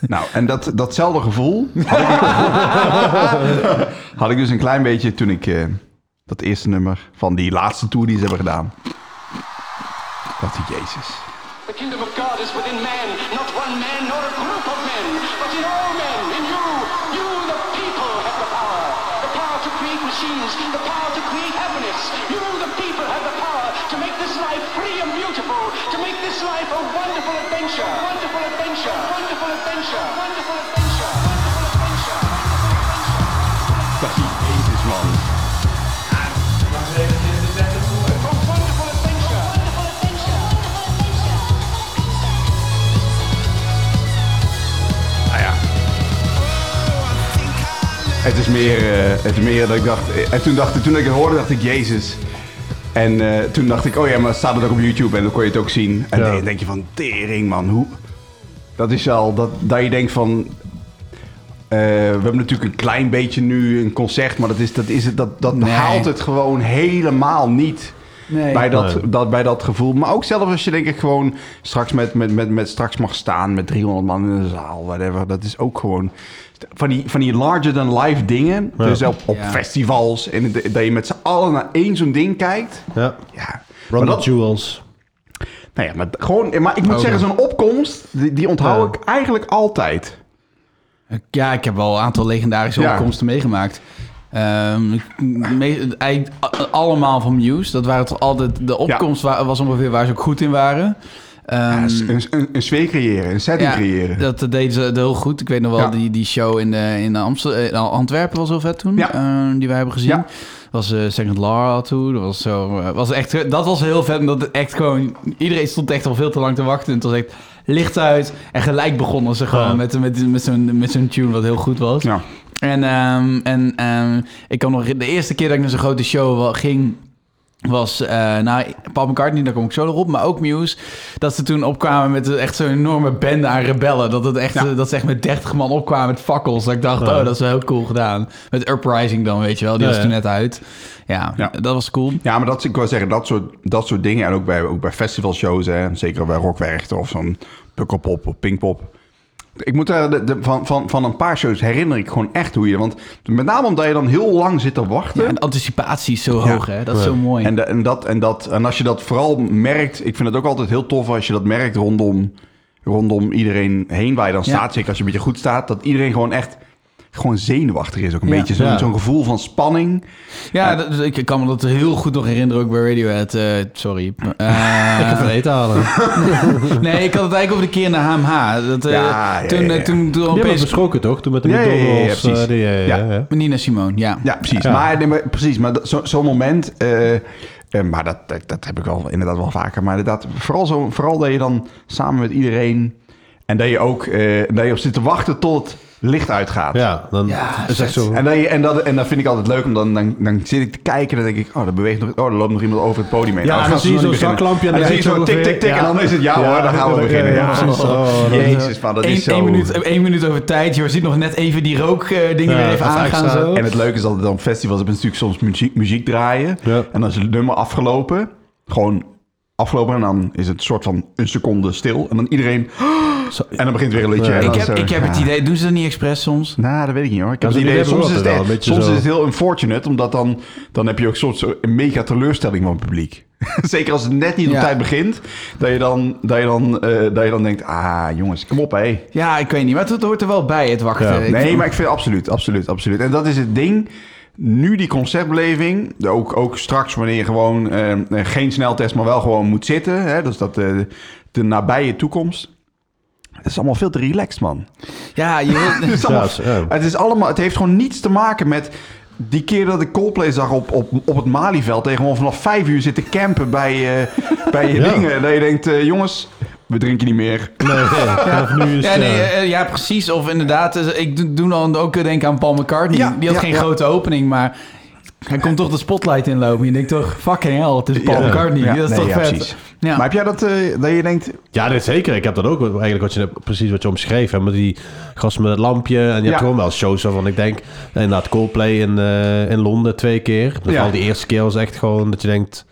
Speaker 3: Nou, en dat, datzelfde gevoel had ik, had ik dus een klein beetje toen ik eh, dat eerste nummer van die laatste tour die ze hebben gedaan. Dat die Jezus.
Speaker 7: The kingdom of God is within man, not one man nor a group of men, but in all men, in you. You, the people, have the power. The power to create machines, the power to create happiness. You, the people, have the power to make this life free and beautiful, to make this life a wonderful adventure. Wonderful adventure. Wonderful adventure. Wonderful adventure. Wonderful adventure.
Speaker 3: Dat die Jezus, man.
Speaker 7: A wonderful adventure. Wonderful adventure.
Speaker 3: Nou ja. Het is meer, eh, het is meer dat ik dacht... eh, En toen, dacht, ik- toen ik het hoorde, dacht ik, Jezus. En eh, toen dacht ik, oh ja, maar het staat het ook op YouTube en dan kon je het ook zien. En
Speaker 4: Ja.
Speaker 3: dan denk je van, tering man, hoe... Dat is wel, dat, dat je denkt van... eh, we hebben natuurlijk een klein beetje nu een concert, maar dat, is, dat, is het, dat, dat
Speaker 2: Nee.
Speaker 3: haalt het gewoon helemaal niet
Speaker 2: Nee.
Speaker 3: bij, dat,
Speaker 4: Nee.
Speaker 3: dat, bij dat gevoel. Maar ook zelf als je denk ik gewoon straks, met, met, met, met, straks mag staan met 300 man in de zaal, whatever. Dat is ook gewoon van die, van die larger than life dingen.
Speaker 4: Ja.
Speaker 3: Dus op, op
Speaker 2: Ja.
Speaker 3: festivals en de- dat je met z'n allen naar één zo'n ding kijkt.
Speaker 4: Ja.
Speaker 3: Ja. Maar
Speaker 4: Ronald
Speaker 3: dat,
Speaker 4: Jewels.
Speaker 3: nou ja, maar, gewoon, maar ik moet
Speaker 2: Oh,
Speaker 3: zeggen,
Speaker 2: ja.
Speaker 3: zo'n opkomst, die, die onthoud
Speaker 4: Ja.
Speaker 3: ik eigenlijk altijd.
Speaker 2: Ja, ik heb wel een aantal legendarische
Speaker 3: Ja.
Speaker 2: opkomsten meegemaakt. Ehm, ik- me- eigenlijk a- allemaal van Muse. Dat waren toch altijd... De opkomst wa- was ongeveer waar ze ook goed in waren. Ehm,
Speaker 3: Een, een, een sfeer creëren, een setting creëren.
Speaker 2: Dat eh, deden ze heel goed. Ik weet nog wel,
Speaker 3: Ja.
Speaker 2: die, die show in, eh, in Amstel, eh, Antwerpen was heel vet toen.
Speaker 3: Ja.
Speaker 2: eh, die wij hebben gezien.
Speaker 3: Ja.
Speaker 2: was eh, Second Law toe. Dat was, zo, eh, was echt, eh, dat was heel vet. Omdat het echt gewoon... Iedereen stond echt al veel te lang te wachten. En toen was echt licht uit. En gelijk begonnen ze gewoon
Speaker 4: Ja.
Speaker 2: met, met, met zo'n met zo'n tune wat heel goed was.
Speaker 3: Ja.
Speaker 2: En, ehm, en ehm, ik kan nog... De eerste keer dat ik naar zo'n grote show wel- ging was, eh nou, Paul McCartney, daar kom ik zo nog op, maar ook Muse, dat ze toen opkwamen met echt zo'n enorme bende aan rebellen. Dat, het echt,
Speaker 3: Ja.
Speaker 2: eh, dat ze echt met 30 man opkwamen met fakkels. Dat ik dacht,
Speaker 4: Ja.
Speaker 2: oh, dat is wel heel cool gedaan. Met Uprising dan, weet je wel, die
Speaker 4: Ja,
Speaker 2: was toen
Speaker 4: ja.
Speaker 2: net uit. Ja,
Speaker 3: Ja.
Speaker 2: dat was cool.
Speaker 3: Ja, maar dat, ik wil zeggen, dat soort, dat soort dingen. En ook bij, ook bij festivalshows, hè, zeker bij Rockwerchter of zo'n Pukkelpop of Pinkpop. Ik moet daar de, de- van, van, van een paar shows herinner ik gewoon echt hoe je... Want met name omdat je dan heel lang zit te wachten.
Speaker 2: Ja, en de anticipatie is zo hoog, hè. Dat is zo mooi.
Speaker 3: En, da- en, dat, en, dat, en als je dat vooral merkt, ik vind het ook altijd heel tof als je dat merkt rondom, rondom iedereen heen waar je dan
Speaker 2: Ja.
Speaker 3: staat. Zeker als je een beetje goed staat, dat iedereen gewoon echt gewoon zenuwachtig is. Ook een
Speaker 2: Ja.
Speaker 3: beetje zo'n
Speaker 4: Ja.
Speaker 3: zo'n gevoel van spanning.
Speaker 2: Ja, dat- dat- ik kan me dat heel goed nog herinneren, ook bij Radiohead. eh, sorry. Eh,
Speaker 4: Ik ga van eten halen.
Speaker 2: nee, ik had het eigenlijk over de keer naar HMH. Dat, eh,
Speaker 3: Ja, ja,
Speaker 2: toen, eh,
Speaker 3: ja, ja.
Speaker 2: toen, toen
Speaker 4: Die hebben we
Speaker 2: opeens...
Speaker 4: besproken toch? Toen met de
Speaker 3: Ja, ja, ja, ja,
Speaker 4: McDonald's.
Speaker 3: precies.
Speaker 4: eh, die, ja, ja,
Speaker 3: Ja.
Speaker 4: ja.
Speaker 2: Nina Simone, ja.
Speaker 3: Ja, precies.
Speaker 4: Ja.
Speaker 3: Maar, nee, maar, precies, maar dat- zo- zo'n moment... eh, eh, maar dat, dat, dat heb ik wel inderdaad wel vaker. Maar inderdaad, vooral, zo, vooral dat je dan samen met iedereen... En dat je ook eh, dat je op zit te wachten tot het licht uitgaat.
Speaker 4: Ja, dan
Speaker 2: Ja,
Speaker 4: is echt
Speaker 2: vet.
Speaker 4: zo.
Speaker 3: En, dan, en, dat, en dat vind ik altijd leuk, om dan, dan, dan zit ik te kijken en dan denk ik, oh, daar beweegt nog, oh, er loopt nog iemand over het podium heen.
Speaker 4: Ja,
Speaker 3: Oh,
Speaker 4: en
Speaker 3: gaan
Speaker 4: dan
Speaker 3: ze
Speaker 4: zie je
Speaker 3: nog
Speaker 4: zo'n
Speaker 3: niet beginnen.
Speaker 4: zaklampje en
Speaker 3: En dan
Speaker 4: dan
Speaker 3: zie je zo
Speaker 4: denk je
Speaker 3: tik, tik,
Speaker 4: ook
Speaker 3: tik
Speaker 4: weer,
Speaker 3: en dan
Speaker 4: ja.
Speaker 3: is het, ja,
Speaker 4: Ja,
Speaker 3: hoor, dan gaan we
Speaker 4: ja,
Speaker 3: beginnen.
Speaker 4: ja,
Speaker 3: Ja,
Speaker 4: precies. Oh, dat is-
Speaker 3: Jezus, man, dat
Speaker 2: Eén,
Speaker 3: is zo...
Speaker 2: één minuut, één minuut over tijd. Je ziet nog net even die rookdingen
Speaker 4: Ja,
Speaker 2: weer even
Speaker 4: dat is
Speaker 2: aangaan.
Speaker 4: extra.
Speaker 2: Zo.
Speaker 3: En het leuke is dat dan op festivals hebben ze natuurlijk soms muziek, muziek draaien.
Speaker 4: Ja.
Speaker 3: En dan is het nummer afgelopen. Gewoon afgelopen. En dan is het soort van een seconde stil. En dan iedereen... En dan begint weer een liedje.
Speaker 4: Ja.
Speaker 3: En
Speaker 2: ik
Speaker 3: dan
Speaker 2: heb,
Speaker 3: zo-
Speaker 2: ik heb het
Speaker 3: Ja.
Speaker 2: idee, doen ze dat niet expres soms?
Speaker 3: Nou, dat weet ik niet hoor. Ik heb
Speaker 4: Ja,
Speaker 3: het
Speaker 4: zo'n
Speaker 3: idee,
Speaker 4: idee
Speaker 3: soms,
Speaker 4: hebben
Speaker 3: is het,
Speaker 4: we altijd
Speaker 3: echt-
Speaker 4: wel, een beetje
Speaker 3: soms
Speaker 4: zo.
Speaker 3: is het heel unfortunate, omdat dan, dan heb je ook soms een mega teleurstelling van het publiek. Zeker als het net niet
Speaker 2: Ja.
Speaker 3: op tijd begint, dat je dan, dat je dan, eh, dat je dan denkt, ah jongens, kom op hé.
Speaker 2: Ja, ik weet niet. Maar het hoort er wel bij, het wachten.
Speaker 4: Ja.
Speaker 2: Ik-
Speaker 3: Nee, maar ik vind absoluut, absoluut, absoluut. En dat is het ding. Nu die conceptbeleving, ook, ook straks wanneer je gewoon eh, eh, geen sneltest, maar wel gewoon moet zitten. Hè, dus dat eh, de nabije toekomst. Het is allemaal veel te relaxed, man.
Speaker 2: Ja, je
Speaker 3: Het
Speaker 2: wil-
Speaker 3: is, allemaal,
Speaker 4: Ja, ja.
Speaker 3: het is allemaal, het heeft gewoon niets te maken met die keer dat ik Coldplay zag op, op, op het Malieveld. Dat je gewoon vanaf vijf uur zit te campen bij, eh, bij je
Speaker 4: Ja.
Speaker 3: dingen. Dat je denkt, eh, jongens, we drinken niet meer.
Speaker 4: Nee, nee, vanaf nu is
Speaker 2: ja,
Speaker 4: het,
Speaker 2: nee,
Speaker 4: eh,
Speaker 2: eh, ja, precies. Of inderdaad, eh, ik do- doe dan ook eh, denk aan Paul McCartney.
Speaker 3: Ja,
Speaker 2: die had
Speaker 3: ja,
Speaker 2: geen
Speaker 3: ja.
Speaker 2: grote opening, maar hij komt toch de spotlight inlopen. Je denkt toch, fucking hell, het is Paul
Speaker 3: Ja.
Speaker 2: McCartney.
Speaker 3: Ja,
Speaker 2: Dat is
Speaker 3: nee,
Speaker 2: toch
Speaker 3: ja,
Speaker 2: vet.
Speaker 3: precies.
Speaker 2: Ja.
Speaker 3: Maar heb jij dat, eh, dat je denkt,
Speaker 4: ja, dit zeker. Ik heb dat ook eigenlijk wat je, net- precies wat je omschreef. Hè, met die gast met het lampje. En je
Speaker 3: Ja.
Speaker 4: hebt gewoon wel shows waarvan ik denk... Inderdaad, Coldplay in, eh, in Londen twee keer. Dus
Speaker 3: Ja.
Speaker 4: al die eerste keer was echt gewoon dat je denkt...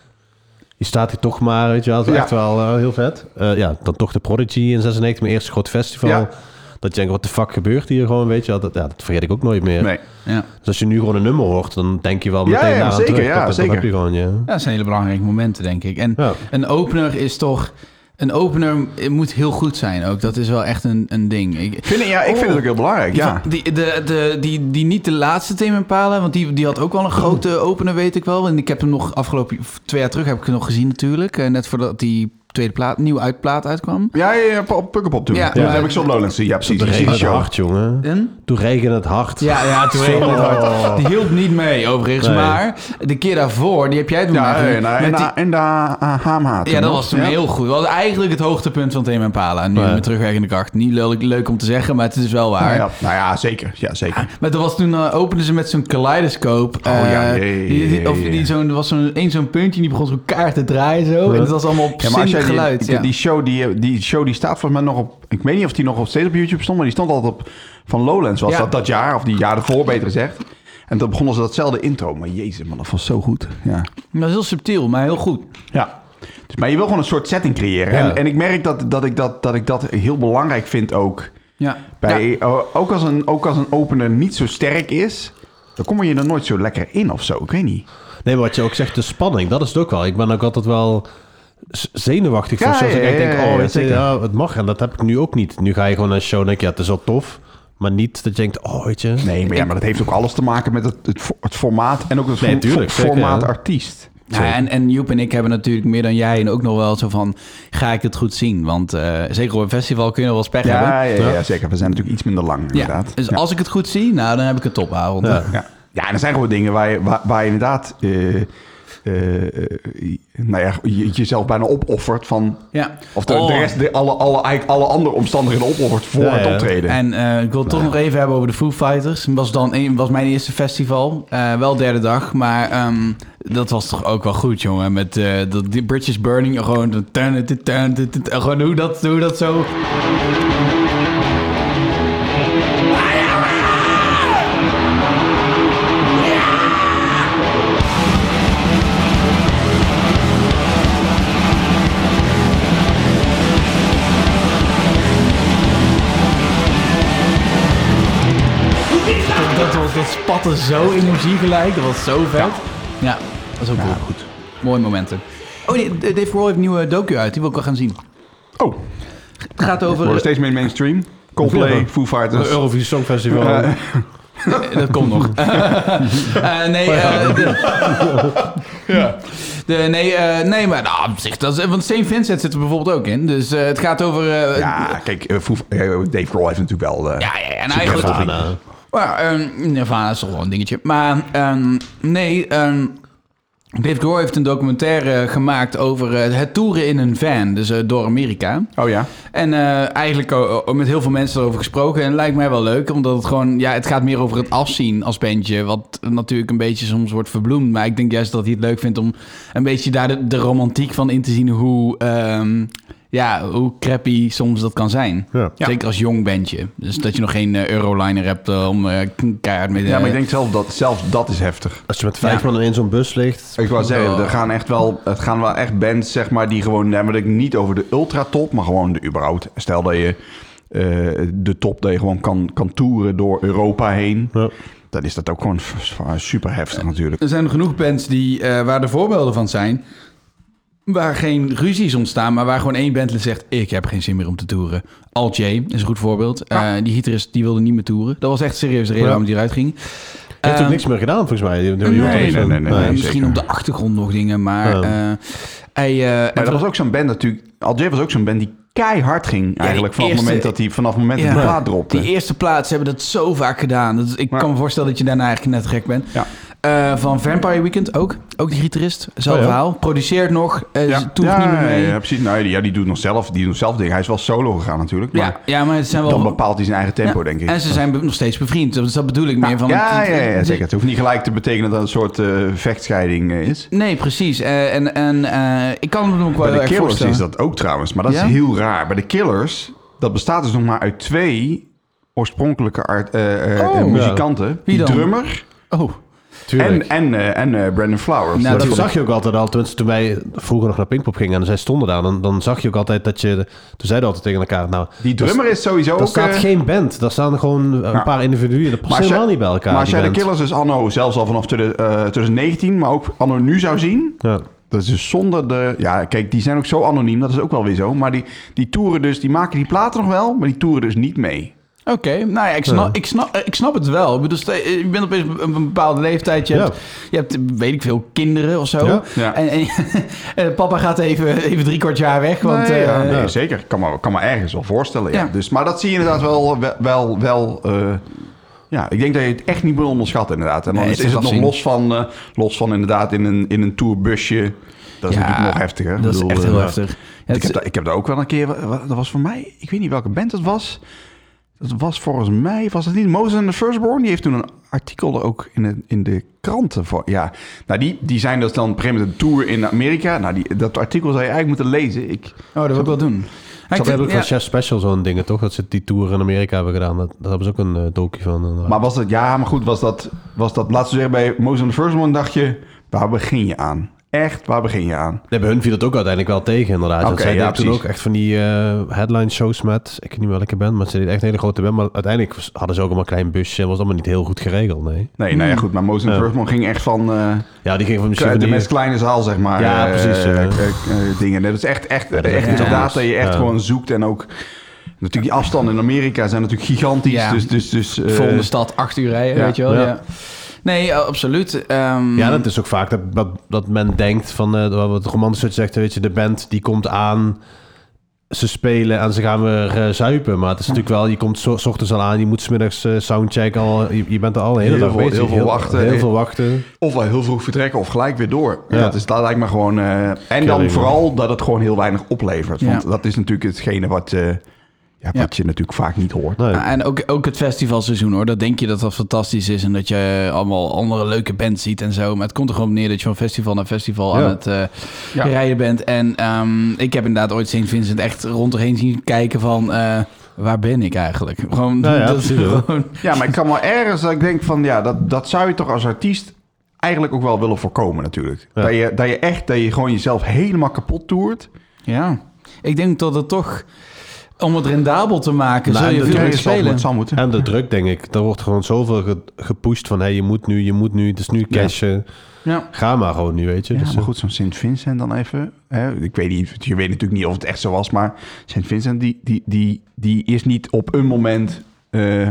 Speaker 4: Je staat hier toch maar, weet je wel. Dat is
Speaker 3: Ja.
Speaker 4: echt wel eh, heel vet. Eh, ja, dan toch de Prodigy in 96, mijn eerste groot festival.
Speaker 3: Ja.
Speaker 4: Dat je denkt, wat de fuck gebeurt hier gewoon, weet je wel. Dat, ja, dat vergeet ik ook nooit meer.
Speaker 3: nee.
Speaker 2: Ja.
Speaker 4: Dus als je nu gewoon een nummer hoort, dan denk je wel
Speaker 3: Ja,
Speaker 4: meteen
Speaker 3: ja,
Speaker 4: daaraan
Speaker 3: zeker,
Speaker 4: terug.
Speaker 3: ja,
Speaker 4: Dat- dat,
Speaker 3: zeker.
Speaker 4: heb je gewoon, ja.
Speaker 2: Ja, dat zijn hele belangrijke momenten, denk ik. En
Speaker 4: Ja.
Speaker 2: een opener is toch... Een opener moet heel goed zijn ook. Dat is wel echt een, een ding. Ik,
Speaker 3: Vind ik, ja, ik vind het ook heel belangrijk, ja.
Speaker 2: Die, die- de, de, die, die niet de laatste Tim Impala, want die, die had ook wel een grote opener, weet ik wel. En ik heb hem nog afgelopen of twee jaar terug heb ik hem nog gezien natuurlijk. Eh, Net voordat die tweede plaat, nieuw uitplaat uitkwam.
Speaker 3: Ja, ja, ja, eh, op Pukkelpop toen.
Speaker 2: Ja.
Speaker 3: Ja, dat
Speaker 2: Ja.
Speaker 3: heb ik zo op Lowlands gezien. Ja, precies.
Speaker 4: Toen
Speaker 3: precies
Speaker 4: regende
Speaker 3: die
Speaker 4: het
Speaker 3: show.
Speaker 4: hard, jongen.
Speaker 2: En?
Speaker 4: Toen regende het hard.
Speaker 2: Ja, ja, toen regende het
Speaker 3: Oh.
Speaker 2: hard. Die hielp niet mee overigens,
Speaker 4: Nee.
Speaker 2: maar de keer daarvoor, die heb jij toen
Speaker 3: Ja, nou,
Speaker 2: eigenlijk
Speaker 3: en, en,
Speaker 2: met die-
Speaker 3: en, en de ah, Haamha toen,
Speaker 2: Ja, dat
Speaker 3: hè?
Speaker 2: was toen
Speaker 3: Ja.
Speaker 2: heel goed. Dat was eigenlijk het hoogtepunt van Tim Impala. Nu
Speaker 4: Ja.
Speaker 2: met terugwerkende kracht. Niet leuk, leuk om te zeggen, maar het is wel waar.
Speaker 3: Nou ja, nou ja, zeker. Ja, zeker.
Speaker 2: Maar dat was toen eh, openden ze met zo'n kaleidoscoop.
Speaker 3: Oh
Speaker 2: eh,
Speaker 3: ja, jee,
Speaker 2: die- die-
Speaker 3: jee,
Speaker 2: Of
Speaker 3: jee.
Speaker 2: die zo'n, er was zo'n één zo'n puntje en die begon zo'n kaart te draaien zo. En dat was allemaal op
Speaker 3: Ja, maar als jij die-
Speaker 2: geluid.
Speaker 3: die,
Speaker 2: ja.
Speaker 3: die, show, die, die show die staat volgens mij nog op... Ik weet niet of die nog op steeds op YouTube stond, maar die stond altijd op... Van Lowlands was
Speaker 2: Ja.
Speaker 3: dat dat jaar, of die jaar ervoor beter gezegd. En toen begonnen ze datzelfde intro. Maar jezus man, dat was zo goed. Ja.
Speaker 2: Dat was heel subtiel, maar heel goed.
Speaker 3: Ja. Dus, maar je wil gewoon een soort setting creëren.
Speaker 4: Ja.
Speaker 3: En, en ik merk dat, dat, ik dat, dat ik dat heel belangrijk vind ook.
Speaker 2: Ja. Nou,
Speaker 3: Bij, o- ook, als een, ook als een opener niet zo sterk is, dan kom je er nooit zo lekker in of zo. Ik weet niet.
Speaker 4: Nee, maar wat je ook zegt, de spanning, dat is het ook wel. Ik ben ook altijd wel z- zenuwachtig
Speaker 3: Ja,
Speaker 4: voor shows.
Speaker 3: ja,
Speaker 4: ik denk,
Speaker 3: ja, ja,
Speaker 4: oh, weet je,
Speaker 3: zeker.
Speaker 4: ja, het mag. En dat heb ik nu ook niet. Nu ga je gewoon naar een show en denk je, ja, het is wel tof. Maar niet dat je denkt, oh, weet je.
Speaker 3: Nee, maar, ja, maar dat heeft ook alles te maken met het, het, fo- het formaat en ook het
Speaker 4: Nee,
Speaker 3: fo-
Speaker 4: tuurlijk,
Speaker 3: fo-
Speaker 4: zeker,
Speaker 3: formaat
Speaker 4: ja.
Speaker 3: artiest.
Speaker 2: Nou, en, en Joep en ik hebben natuurlijk meer dan jij en ook nog wel zo van, ga ik het goed zien? Want eh, zeker op een festival kun je nog wel eens pech hebben.
Speaker 3: Ja, ja, ja, ja, zeker. We zijn natuurlijk iets minder lang,
Speaker 2: Ja,
Speaker 3: inderdaad.
Speaker 2: dus
Speaker 3: ja.
Speaker 2: als ik het goed zie, nou, dan heb ik een topavond.
Speaker 4: Ja.
Speaker 3: Ja. ja, en er zijn gewoon dingen waar je, waar, waar je inderdaad... eh, eh, eh, nou ja, je, jezelf bijna opoffert van...
Speaker 2: Ja.
Speaker 3: Of de,
Speaker 2: Oh.
Speaker 3: de rest, de, alle, alle, eigenlijk alle andere omstandigheden opoffert voor
Speaker 4: Ja,
Speaker 3: het
Speaker 4: ja.
Speaker 3: optreden.
Speaker 2: En eh, ik wil het toch nog even hebben over de Foo Fighters. Het was, dan een, was mijn eerste festival. Eh, wel derde dag, maar ehm, dat was toch ook wel goed, jongen. Met eh, dat, die Bridges Burning, gewoon, dat turn, dit, turn, dit, dit, eh, gewoon hoe, dat, hoe dat zo... Dat, was, dat spatte zo energie gelijk, dat was zo vet. Ja, dat is ook cool. goed. Mooie momenten. Oh nee, Dave Grohl heeft een nieuwe docu uit, die wil ik wel gaan zien.
Speaker 3: oh,
Speaker 2: Het gaat
Speaker 3: we worden
Speaker 2: over...
Speaker 3: steeds meer mainstream. Coldplay, Foo Fighters.
Speaker 4: Eurovisie Songfestival.
Speaker 3: Eh,
Speaker 2: dat komt nog. Eh, nee, eh, de- De, nee, eh, nee, maar nou, op zich, dat is, want St. Vincent zit er bijvoorbeeld ook in. Dus eh, het gaat over... eh,
Speaker 3: Ja, kijk, eh, Foo- eh, Dave Grohl heeft natuurlijk wel... eh,
Speaker 2: Ja, ja, en
Speaker 3: Super
Speaker 2: eigenlijk...
Speaker 3: Nirvana.
Speaker 2: Maar, ehm, Nirvana is toch wel een dingetje. Maar ehm, nee, ehm, Dave Grohl heeft een documentaire gemaakt over eh, het toeren in een van, dus eh, door Amerika.
Speaker 3: Oh ja.
Speaker 2: En eh, eigenlijk o- o- met heel veel mensen erover gesproken. En lijkt mij wel leuk, omdat het gewoon... Ja, het gaat meer over het afzien als bandje. Wat natuurlijk een beetje soms wordt verbloemd. Maar ik denk juist dat hij het leuk vindt om een beetje daar de, de romantiek van in te zien. Hoe, ehm, ja, hoe crappy soms dat kan zijn.
Speaker 4: Ja.
Speaker 3: Ja.
Speaker 2: Zeker als jong bandje. Dus dat je nog geen eh, Euroliner hebt eh, om eh, keihard mee te...
Speaker 3: Ja, maar ik denk zelf dat, zelfs dat is heftig.
Speaker 4: Als je met vijf
Speaker 2: Ja.
Speaker 4: man in zo'n bus ligt.
Speaker 3: Ik wou zeggen, er gaan echt wel, het gaan wel echt bands, zeg maar, die gewoon, nou, maar ik niet over de ultratop, maar gewoon de überhaupt. Stel dat je eh, de top, dat je gewoon kan, kan toeren door Europa heen.
Speaker 4: Ja.
Speaker 3: Dan is dat ook gewoon f- f- super heftig natuurlijk.
Speaker 2: Er zijn genoeg bands die, eh, waar de voorbeelden van zijn. Waar geen ruzies ontstaan, maar waar gewoon één bandlid zegt: Ik heb geen zin meer om te toeren. Al J is een goed voorbeeld. Eh, die gitarist die wilde niet meer toeren. Dat was echt serieus de reden
Speaker 4: Ja.
Speaker 2: waarom die eruit ging.
Speaker 4: Je hebt
Speaker 2: Ehm,
Speaker 4: ook niks meer gedaan, volgens mij. Nee,
Speaker 3: nee, nee, nee,
Speaker 2: eh,
Speaker 3: nee.
Speaker 2: misschien
Speaker 3: zeker.
Speaker 2: op de achtergrond nog dingen, maar. eh
Speaker 4: Ja.
Speaker 2: hij, eh,
Speaker 3: Maar
Speaker 2: en
Speaker 3: dat was
Speaker 2: voor-
Speaker 3: ook zo'n band natuurlijk. Al J was ook zo'n band die keihard ging eigenlijk vanaf
Speaker 2: eerste-
Speaker 3: het moment dat hij vanaf het moment dat
Speaker 2: Ja.
Speaker 3: hij de plaat dropte.
Speaker 2: die eerste plaats hebben dat zo vaak gedaan. Dat, ik
Speaker 3: Ja.
Speaker 2: kan me voorstellen dat je daarna eigenlijk net gek bent.
Speaker 3: Ja.
Speaker 2: Eh, van Vampire Weekend ook. Ook die gitarist. Zelf
Speaker 4: Oh ja.
Speaker 2: verhaal. Produceert nog. eh
Speaker 3: ja.
Speaker 2: Toert niet meer mee.
Speaker 3: ja, ja, precies. Nou, die- ja, die doet nog zelf, die doet zelf dingen. Hij is wel solo gegaan natuurlijk. Maar
Speaker 2: Ja, ja, maar het zijn wel...
Speaker 3: dan bepaalt hij zijn eigen tempo, denk ik.
Speaker 2: En ze zijn be- nog steeds bevriend. Dus dat bedoel ik meer van...
Speaker 3: Nou, ja, ja, ja, zeker. Het hoeft niet gelijk te betekenen dat het een soort eh, vechtscheiding eh, is.
Speaker 2: Nee, precies. Eh, en en eh, ik kan me ook wel
Speaker 3: Bij de
Speaker 2: erg
Speaker 3: Killers
Speaker 2: voorstellen.
Speaker 3: is dat ook trouwens, maar dat
Speaker 2: Ja?
Speaker 3: is heel raar. Bij de Killers, dat bestaat dus nog maar uit twee oorspronkelijke art, eh, eh,
Speaker 2: Oh.
Speaker 3: eh, muzikanten.
Speaker 2: Wie
Speaker 3: Die
Speaker 2: dan?
Speaker 3: drummer
Speaker 2: Oh,
Speaker 3: en, en, eh, en eh, Brandon Flowers. dat
Speaker 2: Nou,
Speaker 4: dat
Speaker 2: natuurlijk.
Speaker 4: zag je ook altijd al. Tenminste, toen wij vroeger nog naar Pinkpop gingen en zij stonden daar, dan, dan zag je ook altijd dat je... Toen zeiden we altijd tegen elkaar, nou...
Speaker 3: die drummer is sowieso
Speaker 4: Daar
Speaker 3: ook...
Speaker 4: staat
Speaker 3: eh,
Speaker 4: geen band. Daar staan gewoon een paar individuen. Dat past
Speaker 3: als jij-
Speaker 4: helemaal niet bij elkaar.
Speaker 3: Maar als
Speaker 4: die
Speaker 3: jij de
Speaker 4: band.
Speaker 3: Killers dus anno zelfs al vanaf 20- eh, 2019, maar ook anno nu zou zien...
Speaker 4: Ja.
Speaker 3: Dat is dus zonder de... Ja, kijk, die zijn ook zo anoniem. Dat is ook wel weer zo. Maar die, die toeren dus... Die maken die platen nog wel, maar die toeren dus niet mee.
Speaker 2: oké. Nou ja, ik snap, Ik, snap, eh, ik snap het wel. Ik bedoel, stel- eh, je bent opeens op een bepaalde leeftijd. Je,
Speaker 4: Ja.
Speaker 2: hebt, je hebt, eh, weet ik veel, kinderen of zo.
Speaker 4: Ja.
Speaker 3: Ja.
Speaker 2: En, en, en papa gaat even, even drie kwart jaar weg. Want,
Speaker 3: nee, ja,
Speaker 2: eh,
Speaker 3: nee, zeker. Kan me, kan me ergens wel voorstellen. Ja.
Speaker 2: Ja.
Speaker 3: Dus, maar dat zie je inderdaad wel... wel, wel, wel, eh, ja, ik denk dat je het echt niet moet onderschatten inderdaad. En dan
Speaker 2: Nee,
Speaker 3: is,
Speaker 2: het
Speaker 3: is
Speaker 2: is
Speaker 3: het nog
Speaker 2: afzien.
Speaker 3: los van, eh, los van inderdaad in een, in een tourbusje. Dat is
Speaker 2: Ja,
Speaker 3: natuurlijk nog heftiger. Ik
Speaker 2: Dat is
Speaker 3: bedoel,
Speaker 2: echt
Speaker 3: eh,
Speaker 2: heel heftig. Ja,
Speaker 3: Ik
Speaker 2: het
Speaker 3: heb,
Speaker 2: is-
Speaker 3: daar- ik heb daar ook wel een keer... wa- wa- Dat was voor mij... Ik weet niet welke band het was. Dat was volgens mij... Was het niet Moses and the Firstborn? Die heeft toen een artikel er ook in de, in de kranten voor... Ja, nou die, die zijn dus dan op een gegeven moment een tour in Amerika. Nou, die, dat artikel zou je eigenlijk moeten lezen. Ik,
Speaker 2: Oh, dat wil ik wel doen.
Speaker 4: Ik
Speaker 2: Ik
Speaker 4: zat ook
Speaker 2: vind-
Speaker 4: van
Speaker 2: ja.
Speaker 4: Chef Special zo'n dingen, toch? Dat ze die tour in Amerika hebben gedaan. Dat, daar hebben ze ook een eh, docu van. inderdaad.
Speaker 3: maar was dat... Ja, maar goed, was dat... Was dat laten we zeggen, bij Moses and the Firstborn dacht je... Waar begin je aan? Echt, waar begin je aan?
Speaker 4: nee, bij hun viel het ook uiteindelijk wel tegen, inderdaad.
Speaker 3: Oké,
Speaker 4: Want zij
Speaker 3: ja,
Speaker 4: deden toen
Speaker 3: precies.
Speaker 4: ook echt van die eh, headline shows met... Ik weet niet welke band, maar ze deden echt een hele grote band. Maar uiteindelijk was- hadden ze ook allemaal een klein busje. En was allemaal niet heel goed geregeld, nee.
Speaker 3: Nee, nou ja,
Speaker 2: Hmm.
Speaker 3: goed. Maar Moses and the Firstborn ging echt van... eh,
Speaker 4: Ja, die gingen van misschien
Speaker 3: Uit de
Speaker 4: van die-
Speaker 3: meest kleine zaal, zeg maar.
Speaker 4: Ja,
Speaker 3: eh,
Speaker 4: precies, ja.
Speaker 3: eh, eh, eh, dingen. Nee, Dat is echt, echt,
Speaker 4: dat is
Speaker 3: echt
Speaker 4: echt
Speaker 3: inderdaad
Speaker 4: anders.
Speaker 3: dat je echt
Speaker 4: Ja.
Speaker 3: gewoon zoekt. En ook natuurlijk die afstanden in Amerika zijn natuurlijk gigantisch.
Speaker 2: Ja.
Speaker 3: Dus, dus, dus eh,
Speaker 2: Volgende stad, acht uur rijden,
Speaker 3: ja,
Speaker 2: weet je wel. Ja.
Speaker 4: ja.
Speaker 2: Nee, eh, absoluut. Ehm,
Speaker 4: Ja,
Speaker 3: Mhm.
Speaker 4: dat is ook vaak dat, dat, dat men denkt van... eh, wat romantisch wat je zegt, weet je, de band die komt aan... Ze spelen en ze gaan weer eh, zuipen. Maar het is natuurlijk wel, je komt zo, 's ochtends al aan, je moet smiddags eh, soundcheck al. Je, je bent er al een hele
Speaker 3: Heel
Speaker 4: dag
Speaker 3: veel-
Speaker 4: bezig.
Speaker 3: heel veel wachten.
Speaker 4: Heel veel wachten.
Speaker 3: of wel heel vroeg vertrekken of gelijk weer door.
Speaker 4: Ja.
Speaker 3: Dat, is, dat lijkt me gewoon... eh, en dan
Speaker 4: Killing.
Speaker 3: vooral dat het gewoon heel weinig oplevert. Want
Speaker 2: Ja.
Speaker 3: dat is natuurlijk hetgene wat, eh, ja,
Speaker 2: Ja.
Speaker 3: wat je natuurlijk vaak niet hoort.
Speaker 4: Nee.
Speaker 2: Ah, En ook, ook het festivalseizoen hoor. Dat denk je dat dat fantastisch is en dat je allemaal andere leuke bands ziet en zo. Maar het komt er gewoon op neer dat je van festival naar festival
Speaker 4: Ja.
Speaker 2: aan het eh,
Speaker 3: Ja.
Speaker 2: rijden bent. En ehm, ik heb inderdaad ooit St. Vincent echt rond erheen zien kijken van eh, waar ben ik eigenlijk? Gewoon,
Speaker 4: Nou ja,
Speaker 2: dat is
Speaker 4: precies, hoor.
Speaker 2: gewoon
Speaker 3: Ja, maar ik kan wel ergens dat ik denk van ja, dat, dat zou je toch als artiest eigenlijk ook wel willen voorkomen natuurlijk.
Speaker 4: Ja.
Speaker 3: Dat, je, dat je echt, dat je gewoon jezelf helemaal kapot toert.
Speaker 2: Ja, ik denk dat het toch, om het rendabel te maken,
Speaker 4: Nou,
Speaker 2: zul je
Speaker 4: en
Speaker 2: veel
Speaker 4: dat
Speaker 3: Terwijl
Speaker 2: meer
Speaker 3: je zelf
Speaker 2: spelen.
Speaker 3: moet- zou moeten.
Speaker 4: En de druk, denk ik. Daar wordt gewoon zoveel ge- gepusht van... hé, je moet nu, je moet nu, het is nu cashen.
Speaker 2: Ja.
Speaker 4: Ga maar gewoon nu, weet je.
Speaker 3: Ja,
Speaker 4: Dus,
Speaker 3: maar
Speaker 2: eh,
Speaker 3: goed, zo'n Sint-Vincent dan even. Hè? Ik weet niet, je weet natuurlijk niet of het echt zo was, maar Sint-Vincent die, die, die, die is niet op een moment eh,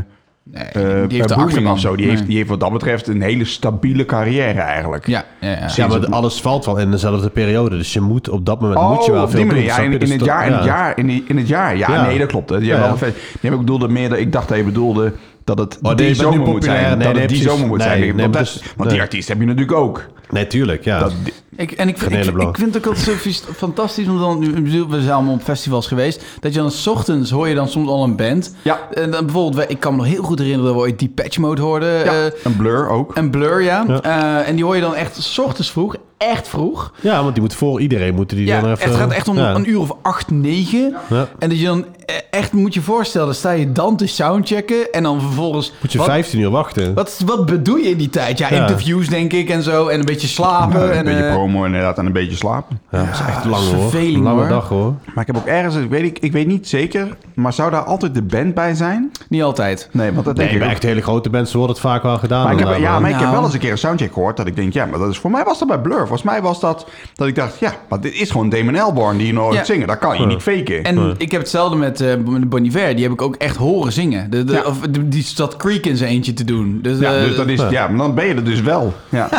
Speaker 2: Nee,
Speaker 3: eh
Speaker 2: die heeft de
Speaker 3: Boeman
Speaker 2: achterban.
Speaker 3: of zo. Die,
Speaker 2: Nee.
Speaker 3: heeft, die heeft wat dat betreft een hele stabiele carrière eigenlijk.
Speaker 2: Ja, ja, ja.
Speaker 4: Ja, maar alles valt wel in dezelfde periode. Dus je moet op dat moment moet je
Speaker 3: Oh,
Speaker 4: wel
Speaker 3: op
Speaker 4: veel
Speaker 3: die manier.
Speaker 4: doen,
Speaker 3: Ja,
Speaker 4: snap
Speaker 3: in,
Speaker 4: je?
Speaker 3: in
Speaker 4: Dus
Speaker 3: het
Speaker 4: dat-
Speaker 3: jaar, in het
Speaker 4: ja.
Speaker 3: jaar, in, die- in het jaar. Ja,
Speaker 4: Ja.
Speaker 3: nee, dat klopt. hè. Je hebt
Speaker 4: Ja. Oh,
Speaker 3: wel een fe- Nee, maar ik bedoelde meer, dat- ik dacht dat je bedoelde dat het
Speaker 4: nee,
Speaker 3: die
Speaker 4: je bent nu
Speaker 3: zomer moet
Speaker 4: populair.
Speaker 3: zijn.
Speaker 4: Nee,
Speaker 3: dat
Speaker 4: nee,
Speaker 3: het die
Speaker 4: precies.
Speaker 3: zomer moet
Speaker 4: Nee,
Speaker 3: zijn.
Speaker 4: nee,
Speaker 3: want
Speaker 4: maar
Speaker 3: dat-
Speaker 4: dus-
Speaker 3: want die
Speaker 4: nee.
Speaker 3: artiest heb je natuurlijk ook.
Speaker 4: Nee, tuurlijk, ja.
Speaker 3: Dat,
Speaker 2: Ik, en ik,
Speaker 4: Van
Speaker 2: ik,
Speaker 4: Nederblad.
Speaker 2: ik vind het ook altijd zo vies- fantastisch om dan, ik bedoel, we zijn allemaal op festivals geweest, dat je dan 's ochtends hoor je dan soms al een band.
Speaker 3: Ja.
Speaker 2: En dan bijvoorbeeld, wij- ik kan me nog heel goed herinneren dat we ooit Depeche Mode hoorden.
Speaker 3: ja,
Speaker 2: eh,
Speaker 3: een blur ook.
Speaker 2: en Blur, ja.
Speaker 4: Ja.
Speaker 2: Eh, en die hoor je dan echt 's ochtends vroeg, echt vroeg.
Speaker 4: ja, want die moet voor iedereen moeten die
Speaker 2: Ja,
Speaker 4: dan even...
Speaker 2: het gaat echt om
Speaker 4: ja.
Speaker 2: een uur of acht, negen.
Speaker 4: Ja.
Speaker 2: En dat je dan eh, echt moet je voorstellen, dan sta je dan te soundchecken en dan vervolgens...
Speaker 4: Moet je
Speaker 2: wat,
Speaker 4: 15 uur wachten.
Speaker 2: wat, wat bedoel je in die tijd? Ja,
Speaker 4: Ja.
Speaker 2: interviews denk ik en zo. En een beetje slapen.
Speaker 3: Ja,
Speaker 2: en,
Speaker 3: een beetje
Speaker 2: eh,
Speaker 3: promo inderdaad en een beetje slapen.
Speaker 4: Ja, dat is echt lang
Speaker 2: dat is
Speaker 4: hoor.
Speaker 2: verveling,
Speaker 4: Lange
Speaker 2: hoor.
Speaker 4: dag hoor.
Speaker 3: Maar ik heb ook ergens, ik weet, ik, ik weet niet zeker, maar zou daar altijd de band bij zijn?
Speaker 2: niet altijd.
Speaker 3: Nee, want dat denk
Speaker 4: Nee,
Speaker 3: ik
Speaker 4: bij
Speaker 3: ook.
Speaker 4: echt hele grote mensen wordt het vaak wel gedaan.
Speaker 3: Maar ik heb,
Speaker 4: inderdaad,
Speaker 3: ja,
Speaker 4: hoor.
Speaker 3: maar ik heb
Speaker 2: Nou.
Speaker 3: wel eens een keer een soundcheck gehoord dat ik denk, ja, maar dat is voor mij was dat bij Blur. Volgens mij was dat dat ik dacht, ja, maar dit is gewoon Damon Elborn die je nooit
Speaker 2: Ja.
Speaker 3: zingen. Dat kan je niet faken.
Speaker 2: En ik heb hetzelfde met eh Bon Iver. Die heb ik ook echt horen zingen. De, de,
Speaker 3: Ja.
Speaker 2: of, de- die zat Creek in zijn eentje te doen. Dus,
Speaker 3: ja,
Speaker 2: eh,
Speaker 3: dus dat is, ja, maar dan ben je er dus wel. Ja.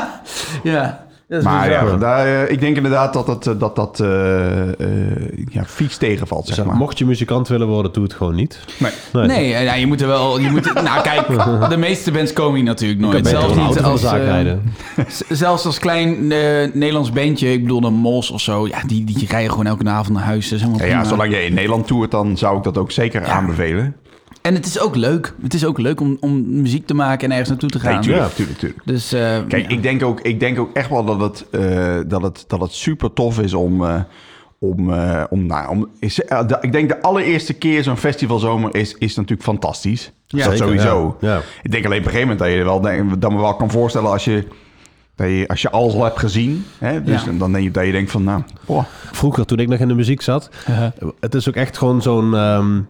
Speaker 2: ja, dat is
Speaker 3: maar
Speaker 2: bizar.
Speaker 3: ja, daar, eh, ik denk inderdaad dat dat, eh, dat, dat eh, eh, ja, fiets tegenvalt,
Speaker 4: Dus
Speaker 3: zeg maar.
Speaker 4: Mocht je muzikant willen worden, doe het gewoon niet.
Speaker 3: Nee.
Speaker 2: Nee, eh, nou, je moet er wel... Je moet, nou, kijk, de meeste bands komen hier natuurlijk
Speaker 4: Ik kan
Speaker 2: nooit.
Speaker 4: beter
Speaker 2: Zelfs
Speaker 4: een
Speaker 2: niet
Speaker 4: auto van de
Speaker 2: als...
Speaker 4: zaak
Speaker 2: eh,
Speaker 4: rijden.
Speaker 2: z- zelfs als klein eh, Nederlands bandje. Ik bedoel, een Mos of zo. Ja, die, die rijden gewoon elke avond naar huis. Dat is helemaal
Speaker 3: Ja, ja,
Speaker 2: prima.
Speaker 3: zolang je in Nederland toert, dan zou ik dat ook zeker aanbevelen.
Speaker 2: En het is ook leuk. Het is ook leuk om, om muziek te maken en ergens naartoe te gaan.
Speaker 3: Nee, tuurlijk,
Speaker 4: Ja.
Speaker 3: tuurlijk, tuurlijk.
Speaker 2: Dus, eh,
Speaker 3: Kijk, ik, denk ook, ik denk ook echt wel dat het, eh, dat het, dat het super tof is om. eh, om, eh, om, nou, om is, eh, de- ik denk de allereerste keer zo'n festivalzomer is, is natuurlijk fantastisch. Ja, dat
Speaker 4: Zeker,
Speaker 3: sowieso.
Speaker 4: ja. Ja.
Speaker 3: Ik denk alleen op een gegeven moment dat je er wel denk- dat me wel kan voorstellen als je, dat je, als je alles al hebt gezien. Hè, dus
Speaker 2: Ja.
Speaker 3: dan, dan denk je dat je denkt van nou, boah,
Speaker 4: Vroeger, toen ik nog in de muziek zat,
Speaker 3: Uh-huh.
Speaker 4: het is ook echt gewoon zo'n... ehm,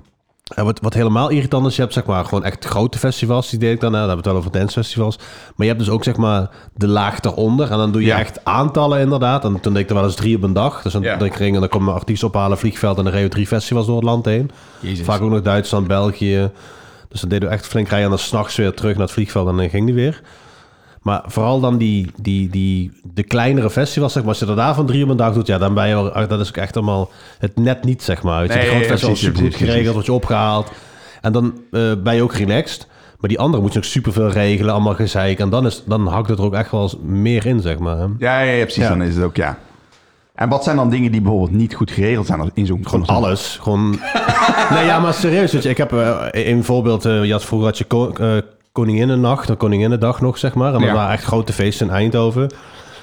Speaker 4: eh, wat, wat helemaal irritant is, je hebt zeg maar gewoon echt grote festivals, die deed ik dan, nou, dan hebben we het wel over dancefestivals. Maar je hebt dus ook zeg maar de laag daaronder en dan doe je
Speaker 3: Ja.
Speaker 4: echt aantallen inderdaad. En toen deed ik er wel eens drie op een dag. Dus dan,
Speaker 3: Ja.
Speaker 4: dan ging en dan kwam een artiest ophalen, vliegveld en dan reden we drie festivals door het land heen. Vaak ook nog Duitsland, België. Dus dan deden we echt flink rijden en dan s'nachts weer terug naar het vliegveld en dan ging die weer. Maar vooral dan die, die, die, de kleinere festivals, zeg maar. Als je er daarvan drie op een dag doet, ja, dan ben je wel... ah, Dat is ook echt allemaal het net niet, zeg maar. Weet je,
Speaker 3: Nee,
Speaker 4: de grote
Speaker 3: ja,
Speaker 4: festivals
Speaker 3: precies,
Speaker 4: super goed
Speaker 3: precies,
Speaker 4: geregeld, word je opgehaald. En dan eh, ben je ook relaxed. Maar die andere moet je ook superveel regelen, allemaal gezeik. En dan, is, dan hakt het er ook echt wel eens meer in, zeg maar.
Speaker 3: ja, ja, ja, precies,
Speaker 4: Ja.
Speaker 3: dan is het ook ja. En wat zijn dan dingen die bijvoorbeeld niet goed geregeld zijn als- in zo'n
Speaker 4: Gewoon alles. Gewoon... nee, ja, maar serieus. Weet je, ik heb eh, een voorbeeld. eh je had vroeger had je ko eh, Koninginnennacht, en Koninginnendag nog, zeg maar. En dat
Speaker 3: Ja.
Speaker 4: waren echt grote feesten in Eindhoven.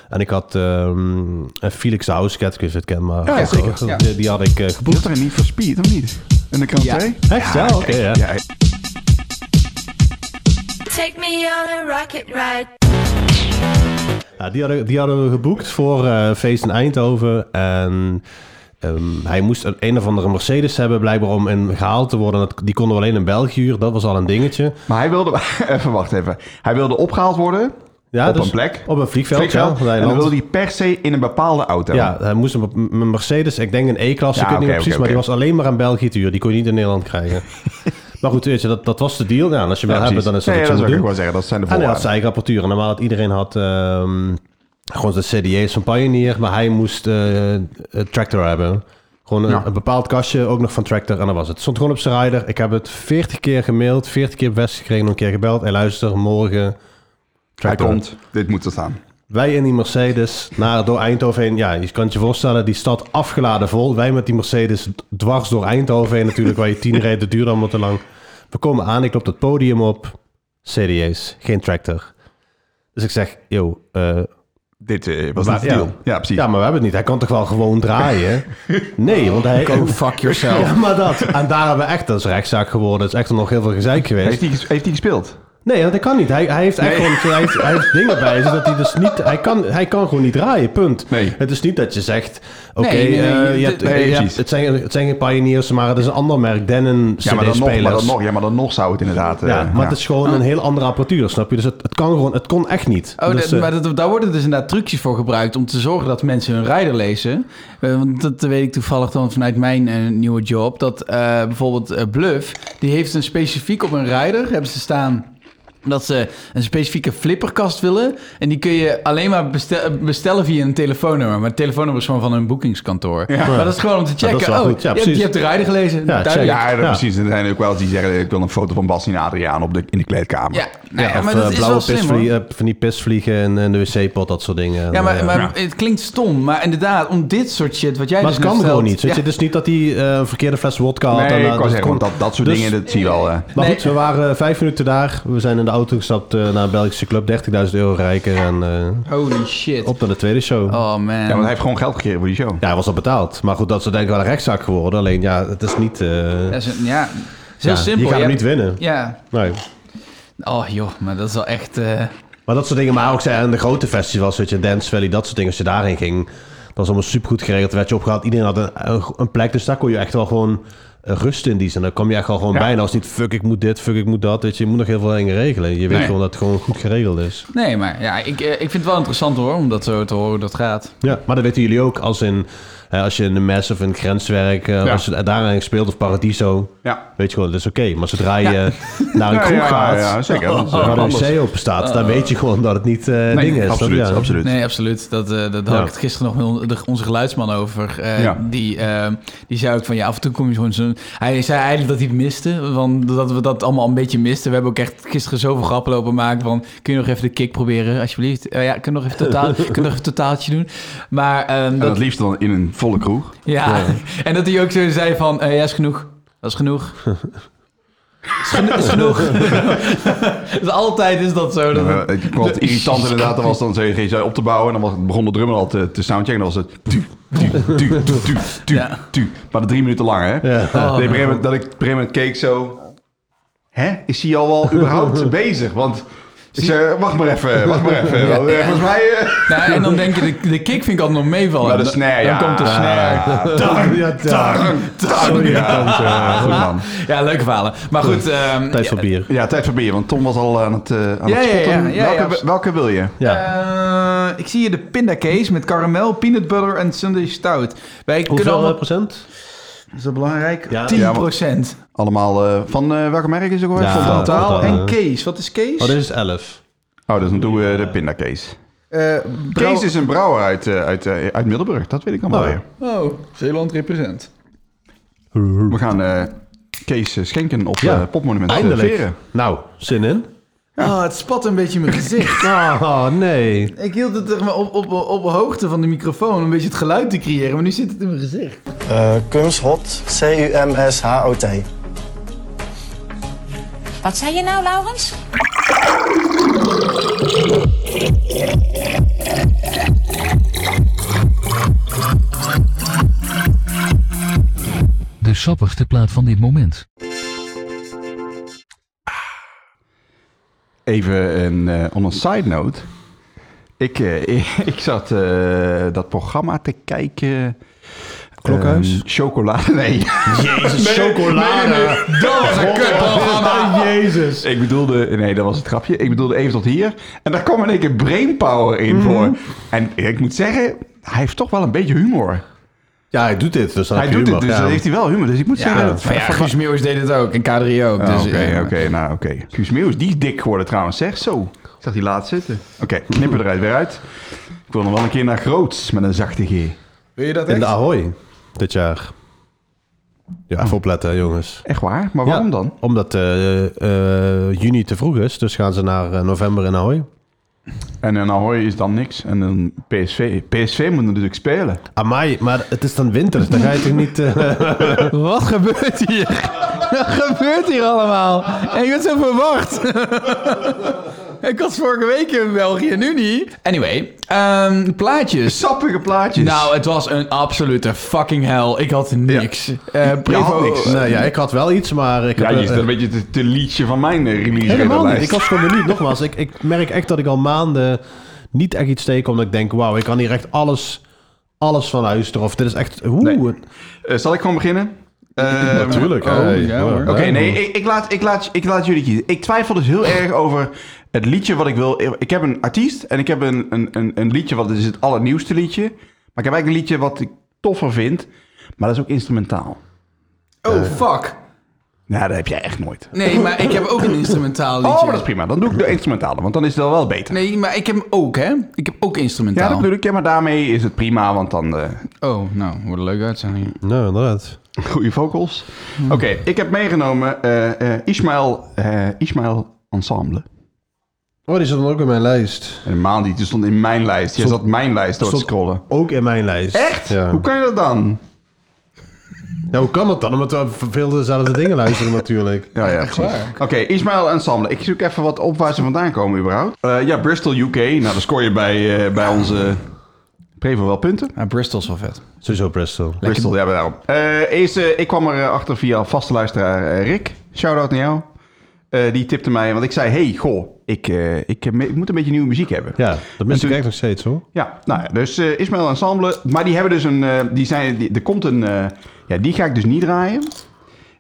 Speaker 4: En ik had ehm, een Felix Housecat, ik weet niet of je het kent, maar
Speaker 3: Ja, ja, zeker.
Speaker 4: grote- Die, die had ik eh,
Speaker 3: Je had
Speaker 4: geboekt.
Speaker 3: er niet voor speed, of niet? En de krant
Speaker 2: Ja.
Speaker 3: twee?
Speaker 4: Echt? Ja, oké. ja.
Speaker 3: Ja,
Speaker 8: Take me on a rocket ride.
Speaker 4: Ja, die, hadden, die hadden we geboekt voor eh, een feest in Eindhoven. En ehm, hij moest een, een of andere Mercedes hebben, blijkbaar, om in gehaald te worden. Dat, die konden we alleen in België huren, dat was al een dingetje.
Speaker 3: Maar hij wilde, even wacht even. Hij wilde opgehaald worden
Speaker 4: Ja,
Speaker 3: op
Speaker 4: dus
Speaker 3: een plek.
Speaker 4: Op een vliegveld,
Speaker 3: Vliegveld.
Speaker 4: ja. van
Speaker 3: en dan
Speaker 4: Nederland.
Speaker 3: wilde hij per se in een bepaalde auto.
Speaker 4: Ja, hij moest hem op m- een Mercedes, ik denk een E-klasse,
Speaker 3: Ja,
Speaker 4: ik weet niet meer
Speaker 3: oké,
Speaker 4: precies,
Speaker 3: oké,
Speaker 4: maar die
Speaker 3: oké.
Speaker 4: was alleen maar aan België te huur. Die kon je niet in Nederland krijgen. maar goed, weet je, dat, dat was de deal. Ja, en als je hem
Speaker 3: Ja,
Speaker 4: wil hebben, dan is
Speaker 3: precies. Nee, dat
Speaker 4: dat wat je
Speaker 3: zou
Speaker 4: moet
Speaker 3: ik ook
Speaker 4: doen.
Speaker 3: wel zeggen. Dat zijn de
Speaker 4: En hij had
Speaker 3: voorwaarden.
Speaker 4: zijn eigen apparatuur. En normaal had iedereen had ehm, gewoon zijn CDA's van Pioneer, maar hij moest eh, een Tractor hebben. Gewoon een,
Speaker 3: Ja.
Speaker 4: een bepaald kastje, ook nog van Tractor. En dat was het. Stond gewoon op zijn rider. Ik heb het 40 keer gemaild, 40 keer best gekregen, nog een keer gebeld. En luister, morgen...
Speaker 3: Hij
Speaker 4: Tractor.
Speaker 3: komt, dit moet er staan.
Speaker 4: Wij in die Mercedes naar, door Eindhoven heen. Ja, je kan het je voorstellen, die stad afgeladen vol. Wij met die Mercedes dwars door Eindhoven heen natuurlijk. Waar je tien rijdt, dat duurde allemaal te lang. We komen aan, ik loop dat podium op. CD's, geen tractor. Dus ik zeg, yo, eh,
Speaker 3: Dit eh, was
Speaker 4: Maar-
Speaker 3: niet de deal.
Speaker 4: ja.
Speaker 3: Ja, precies.
Speaker 4: ja, maar we hebben het niet. Hij kan toch wel gewoon draaien? Nee, want hij...
Speaker 2: Go fuck yourself.
Speaker 4: Ja, maar dat. En daar hebben we echt, dat is rechtszaak geworden. Het is echt nog heel veel gezeik geweest.
Speaker 3: heeft, hij, ges- heeft hij gespeeld?
Speaker 4: Nee, dat kan niet. Hij, hij heeft eigenlijk gewoon, hij heeft, hij heeft dingen bij zich dat hij dus niet, hij kan, hij kan gewoon niet draaien, punt.
Speaker 3: Nee.
Speaker 4: Het is niet dat je zegt, oké,
Speaker 2: Nee, nee,
Speaker 4: eh,
Speaker 2: nee,
Speaker 4: je
Speaker 2: d-
Speaker 4: hebt,
Speaker 3: nee,
Speaker 4: je hebt-
Speaker 3: precies.
Speaker 4: het, zijn, het zijn geen Pioneers, maar het is een ander merk, Denon
Speaker 3: Ja, maar dan nog, maar
Speaker 4: CD-spelers.
Speaker 3: dan nog, ja, maar dan nog zou het inderdaad... eh,
Speaker 4: Ja, maar
Speaker 3: ja.
Speaker 4: het is gewoon een heel andere apparatuur, snap je? Dus het, het kan gewoon, het kon echt niet.
Speaker 2: Oh,
Speaker 4: dus,
Speaker 2: dat,
Speaker 4: eh,
Speaker 2: maar dat, daar worden dus inderdaad trucjes voor gebruikt om te zorgen dat mensen hun rider lezen. Eh, want dat weet ik toevallig dan vanuit mijn eh, nieuwe job. Dat eh, bijvoorbeeld eh, Bluff, die heeft een specifiek op een rider, hebben ze staan dat ze een specifieke flipperkast willen. En die kun je alleen maar bestel- bestellen via een telefoonnummer. Maar het telefoonnummer is gewoon van hun boekingskantoor. Maar dat is gewoon om te
Speaker 4: dat is
Speaker 2: checken.
Speaker 4: wel
Speaker 2: oh,
Speaker 4: goed. Ja,
Speaker 2: je, hebt,
Speaker 4: precies.
Speaker 2: je hebt de rider gelezen.
Speaker 4: Ja,
Speaker 2: Duidelijk.
Speaker 4: check.
Speaker 3: Ja, dat-
Speaker 4: Ja.
Speaker 3: precies. Er zijn ook wel eens die zeggen... ik wil een foto van Bas en Adriaan op de, in de kleedkamer.
Speaker 2: Ja, nou ja,
Speaker 4: of,
Speaker 2: maar
Speaker 4: eh,
Speaker 2: dat is
Speaker 4: blauwe
Speaker 2: wel slim, hoor.
Speaker 4: pisvlie- eh, van die pisvliegen en, en de wc-pot, dat soort dingen.
Speaker 2: Ja,
Speaker 4: En,
Speaker 2: maar,
Speaker 4: eh,
Speaker 2: maar
Speaker 3: Ja.
Speaker 2: het klinkt stom. Maar inderdaad, om dit soort shit, wat jij
Speaker 4: Maar
Speaker 2: dus
Speaker 4: het kan
Speaker 2: net
Speaker 4: gewoon
Speaker 2: vertelt-
Speaker 4: niet. Weet je?
Speaker 2: Ja.
Speaker 4: Het is niet dat hij eh, een verkeerde fles wodka had. en,
Speaker 3: Nee,
Speaker 4: eh,
Speaker 3: ik
Speaker 4: dat
Speaker 3: kan zeggen,
Speaker 4: kon-
Speaker 3: want dat, dat soort
Speaker 4: Dus-
Speaker 3: dingen, dat zie je wel. eh.
Speaker 4: Maar
Speaker 2: Nee.
Speaker 4: goed, we waren eh, vijf minuten daar. We zijn in de auto gestapt eh, naar een Belgische club. 30.000 euro rijker. En eh,
Speaker 2: Holy shit.
Speaker 4: op naar de tweede show.
Speaker 2: Oh man.
Speaker 3: ja, want hij heeft gewoon geld gekregen voor die show.
Speaker 4: Ja, hij was al betaald. Maar goed, dat is uiteindelijk wel een rechtszaak geworden. Alleen ja, het is niet... eh,
Speaker 2: Dat is een- ja, het is heel
Speaker 4: ja,
Speaker 2: simpel.
Speaker 4: Je gaat hem
Speaker 2: hebt-
Speaker 4: niet winnen.
Speaker 2: Ja.
Speaker 4: Nee.
Speaker 2: Oh joh, maar dat is wel echt... eh,
Speaker 4: Maar dat soort dingen. Maar ook zijn aan de grote festivals, weet je, Dance Valley, dat soort dingen. Als je daarheen ging, dat was allemaal supergoed geregeld. Werd je opgehaald. Iedereen had een, een, een plek. Dus daar kon je echt wel gewoon eh, rust in die zin. Dan kwam je echt al gewoon
Speaker 3: Ja.
Speaker 4: bijna als niet fuck ik moet dit, fuck ik moet dat. Weet je, je moet nog heel veel dingen regelen. Je weet
Speaker 3: Nee.
Speaker 4: gewoon dat het gewoon goed geregeld is.
Speaker 2: Nee, maar ja, ik, eh, ik vind het wel interessant hoor, om dat zo te horen hoe dat gaat.
Speaker 4: Ja, maar dat weten jullie ook. Als, in, hè, als je in de mes of in het grenswerk, eh,
Speaker 3: Ja.
Speaker 4: als je daaraan speelt of Paradiso,
Speaker 3: Ja.
Speaker 4: weet je gewoon, dat is oké. Maar zodra je naar een
Speaker 3: Ja,
Speaker 4: kroeg
Speaker 3: ja,
Speaker 4: gaat,
Speaker 3: ja, zeker. Dat is, eh,
Speaker 4: waar
Speaker 3: anders.
Speaker 4: de wc op staat,
Speaker 2: Ah.
Speaker 4: dan weet je gewoon dat het niet eh ding is.
Speaker 3: absoluut,
Speaker 4: Dat- ja.
Speaker 3: absoluut.
Speaker 2: Nee, absoluut. Dat, eh, dat had
Speaker 4: Ja.
Speaker 2: ik het gisteren nog met on- de- onze geluidsman over. Eh,
Speaker 3: Ja.
Speaker 2: die, eh, die zei ook van, ja, af en toe kom je gewoon zo'n... Hij zei eigenlijk dat hij het miste, want dat we dat allemaal een beetje misten. We hebben ook echt gisteren zoveel grappen lopen maken van... Kun je nog even de kick proberen, alsjeblieft? Eh, ja, kun je nog even, totaal, kun je nog even een totaaltje doen? Maar ehm,
Speaker 3: En
Speaker 2: dat,
Speaker 3: het liefst dan in een volle kroeg.
Speaker 2: Ja, en dat hij ook zo zei van, eh, ja, is genoeg. Dat is genoeg. is, geno- is genoeg. dus altijd is dat zo. Dat het-
Speaker 3: Eh, ik vond het irritant inderdaad. Dan was dan zo, ging zo op te bouwen. En dan was, begon de drummer al te, te soundchecken. En dan was het... Tu, tu, tu, tu, tu, tu,
Speaker 2: Ja. Oh.
Speaker 3: tu. Maar dat drie minuten lang, hè?
Speaker 4: Ja.
Speaker 3: Nee, op een gegeven moment, dat ik op een gegeven moment keek zo... Hè? Is hij al wel überhaupt bezig? Want... Ik zei, wacht maar even, wacht maar even. Want, eh, Volgens mij... eh,
Speaker 2: Nou, en dan denk je, de, de kick vind ik altijd nog meevallen.
Speaker 3: Maar de snare, ja.
Speaker 2: Oh, dan
Speaker 3: Ah.
Speaker 2: komt de snare.
Speaker 4: Tang, ja, tang.
Speaker 3: Sorry, ja. Goed man.
Speaker 2: Ja, leuke verhalen. Maar goed. ehm,
Speaker 4: Tijd voor bier.
Speaker 3: Ja, tijd voor bier, want Tom was al aan het, eh, aan
Speaker 2: Ja,
Speaker 3: het
Speaker 2: ja, ja,
Speaker 3: spotten.
Speaker 2: ja, ja,
Speaker 3: welke,
Speaker 2: ja.
Speaker 3: welke wil je?
Speaker 4: Ja.
Speaker 2: eh, ik zie hier de pindakaas met karamel, peanut butter en Sunday stout. Wij kunnen
Speaker 4: Hoeveel
Speaker 2: allemaal...
Speaker 4: eh, procent?
Speaker 2: Is dat belangrijk?
Speaker 4: Ja.
Speaker 2: 10%.
Speaker 3: Ja, Allemaal eh, van eh, welke merk is het ook alweer?
Speaker 4: Ja,
Speaker 3: Van Daal.
Speaker 2: Totaal
Speaker 4: totaal,
Speaker 2: en
Speaker 4: eh.
Speaker 2: Kees. Wat is Kees?
Speaker 4: Oh, dit is 11.
Speaker 3: Oh, dus dan doen we de pindakaas.
Speaker 2: Eh, Brouw-
Speaker 3: Kees is een brouwer uit, eh, uit, eh, uit Middelburg, dat weet ik allemaal
Speaker 4: Oh.
Speaker 3: weer.
Speaker 2: Oh, Zeeland represent.
Speaker 3: We gaan eh, Kees eh, schenken op
Speaker 4: Ja.
Speaker 3: eh,
Speaker 2: Oh,
Speaker 3: Popmonument. Veren.
Speaker 4: Nou, zin in?
Speaker 2: Ah, het spat een beetje in mijn gezicht.
Speaker 4: Oh, nee.
Speaker 2: Ik hield het zeg maar, op, op, op hoogte van de microfoon om een beetje het geluid te creëren, maar nu zit het in mijn gezicht.
Speaker 9: Eh, Kumshot, C-U-M-S-H-O-T.
Speaker 8: Wat zei je nou, Laurens?
Speaker 10: De sappigste plaat van dit moment.
Speaker 3: Even een, eh, on een side note. Ik, eh, ik zat eh, dat programma te kijken.
Speaker 4: Klokhuis?
Speaker 3: Ehm, chocolade, nee.
Speaker 4: Jezus, chocolade.
Speaker 3: Oh, Dat was een
Speaker 4: Ah, Jezus.
Speaker 3: Ik bedoelde, nee, dat was het grapje. Ik bedoelde even tot hier. En daar kwam in één keer brainpower in voor. En ik moet zeggen, hij heeft toch wel een beetje humor.
Speaker 4: Ja, hij doet dit, dus dan
Speaker 3: Hij
Speaker 4: heb je
Speaker 3: doet het,
Speaker 4: humor.
Speaker 3: dus
Speaker 4: Ja.
Speaker 3: dan heeft hij wel humor. Dus ik moet zeggen... dat-
Speaker 2: maar ja, Guus Meeuwis deed het ook en K3 ook.
Speaker 3: Ah,
Speaker 2: dus,
Speaker 3: Oké,
Speaker 2: eh,
Speaker 3: oké, nou oké. Guus Meeuwis, die is dik geworden trouwens, zeg. Zo, ik zag die laat zitten. Oké, knippen eruit, weer uit. Ik wil nog wel een keer naar Groots met een zachte G.
Speaker 2: Wil je dat
Speaker 4: In
Speaker 2: echt?
Speaker 4: de Ahoy dit jaar. Ja, even opletten, hè, jongens.
Speaker 3: Echt waar? Maar waarom
Speaker 4: Ja,
Speaker 3: dan?
Speaker 4: Omdat eh, eh, juni te vroeg is, dus gaan ze naar eh, november in Ahoy.
Speaker 3: En een Ahoy is dan niks. En een PSV. PSV moet natuurlijk spelen.
Speaker 4: Amai, maar het is dan winter, dus dan ga je toch niet... eh,
Speaker 2: Wat gebeurt hier? Wat gebeurt hier allemaal? En ik ben zo verwacht. Ik was vorige week in België, nu niet. Anyway, ehm, plaatjes.
Speaker 3: Sappige plaatjes.
Speaker 2: Nou, het was een absolute fucking hell. Ik had niks. Eh Prevo-
Speaker 3: had niks.
Speaker 4: Nee, ja, ik had wel iets, maar ik
Speaker 3: ja,
Speaker 4: heb...
Speaker 3: je is
Speaker 4: eh,
Speaker 3: een beetje te, te liedje van mijn eh, release
Speaker 4: Helemaal niet.
Speaker 3: lijst.
Speaker 4: Ik was gewoon benieuwd. Nogmaals, ik, ik merk echt dat ik al maanden niet echt iets tegenkom. Dat ik denk, wauw, ik kan hier echt alles, alles van luisteren. Of dit is echt... Oeh.
Speaker 3: Nee. Eh, zal ik gewoon beginnen? Eh,
Speaker 4: Natuurlijk.
Speaker 3: oh,
Speaker 4: Hey,
Speaker 2: ja, hoor.
Speaker 4: hoor.
Speaker 3: Oké, nee, ik, ik, laat, ik, laat, ik laat jullie kiezen. Ik twijfel dus heel erg over het liedje wat ik wil. Ik heb een artiest en ik heb een, een, een, een liedje wat is het allernieuwste liedje. Maar ik heb eigenlijk een liedje wat ik toffer vind. Maar dat is ook instrumentaal.
Speaker 2: Oh, fuck.
Speaker 3: Nou, dat heb jij echt nooit.
Speaker 4: Oh,
Speaker 2: Nee, maar ik heb ook een instrumentaal liedje.
Speaker 3: Oh, maar dat is prima. Dan doe ik de instrumentale, want dan is het wel beter.
Speaker 2: Nee, maar ik heb hem ook, hè? Ik heb ook instrumentaal.
Speaker 3: Ja,
Speaker 4: Nou.
Speaker 3: dat bedoel ik. Ja, maar daarmee is het prima, want dan... eh,
Speaker 2: Oh, nou, wat een leuke uitzending.
Speaker 4: Nou, inderdaad.
Speaker 3: Goede vocals.
Speaker 4: Hmm.
Speaker 3: Oké, ik heb meegenomen eh, eh, Ismail, eh, Ismail Ensemble.
Speaker 4: Oh, die zat dan ook in mijn lijst.
Speaker 3: Helemaal niet. Die stond in mijn lijst. Jij zat mijn lijst door te
Speaker 4: stond-
Speaker 3: scrollen.
Speaker 4: Ook in mijn lijst.
Speaker 3: Echt?
Speaker 4: Ja.
Speaker 3: Hoe kan je dat dan?
Speaker 4: Ja, hoe kan dat dan? Omdat we veel dezelfde dingen luisteren natuurlijk.
Speaker 3: Ja, ja, precies. Oké, Ismail Ensemble. Ik zoek even wat op waar ze vandaan komen überhaupt. Eh, ja, Bristol UK. Nou, dan scoor je bij, eh, bij onze... Prevo Ah, wel punten.
Speaker 2: Ja, Bristol is wel vet.
Speaker 4: Sowieso Bristol.
Speaker 3: Bristol, ja, daarom. Eh, eerst, eh, ik kwam er eh, achter via vaste luisteraar eh, Rick. Shout-out naar jou. Eh, die tipte mij, want ik zei... hey, goh, ik, eh, ik, eh, ik moet een beetje nieuwe muziek hebben.
Speaker 4: Ja, dat mis ik
Speaker 3: Natuurlijk-
Speaker 4: echt nog steeds hoor.
Speaker 3: Ja, nou ja, dus eh, Ismail Ensemble. Maar die hebben dus een. eh, die zijn, die, er komt een. eh, ja, die ga ik dus niet draaien.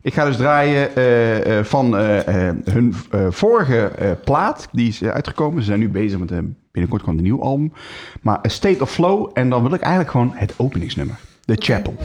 Speaker 3: Ik ga dus draaien eh, eh, van eh, eh, hun eh, vorige eh, plaat. Die is eh, uitgekomen. Ze zijn nu bezig met. eh, binnenkort komt een nieuw album. Maar A State of Flow. En dan wil ik eigenlijk gewoon het openingsnummer: The Chapel.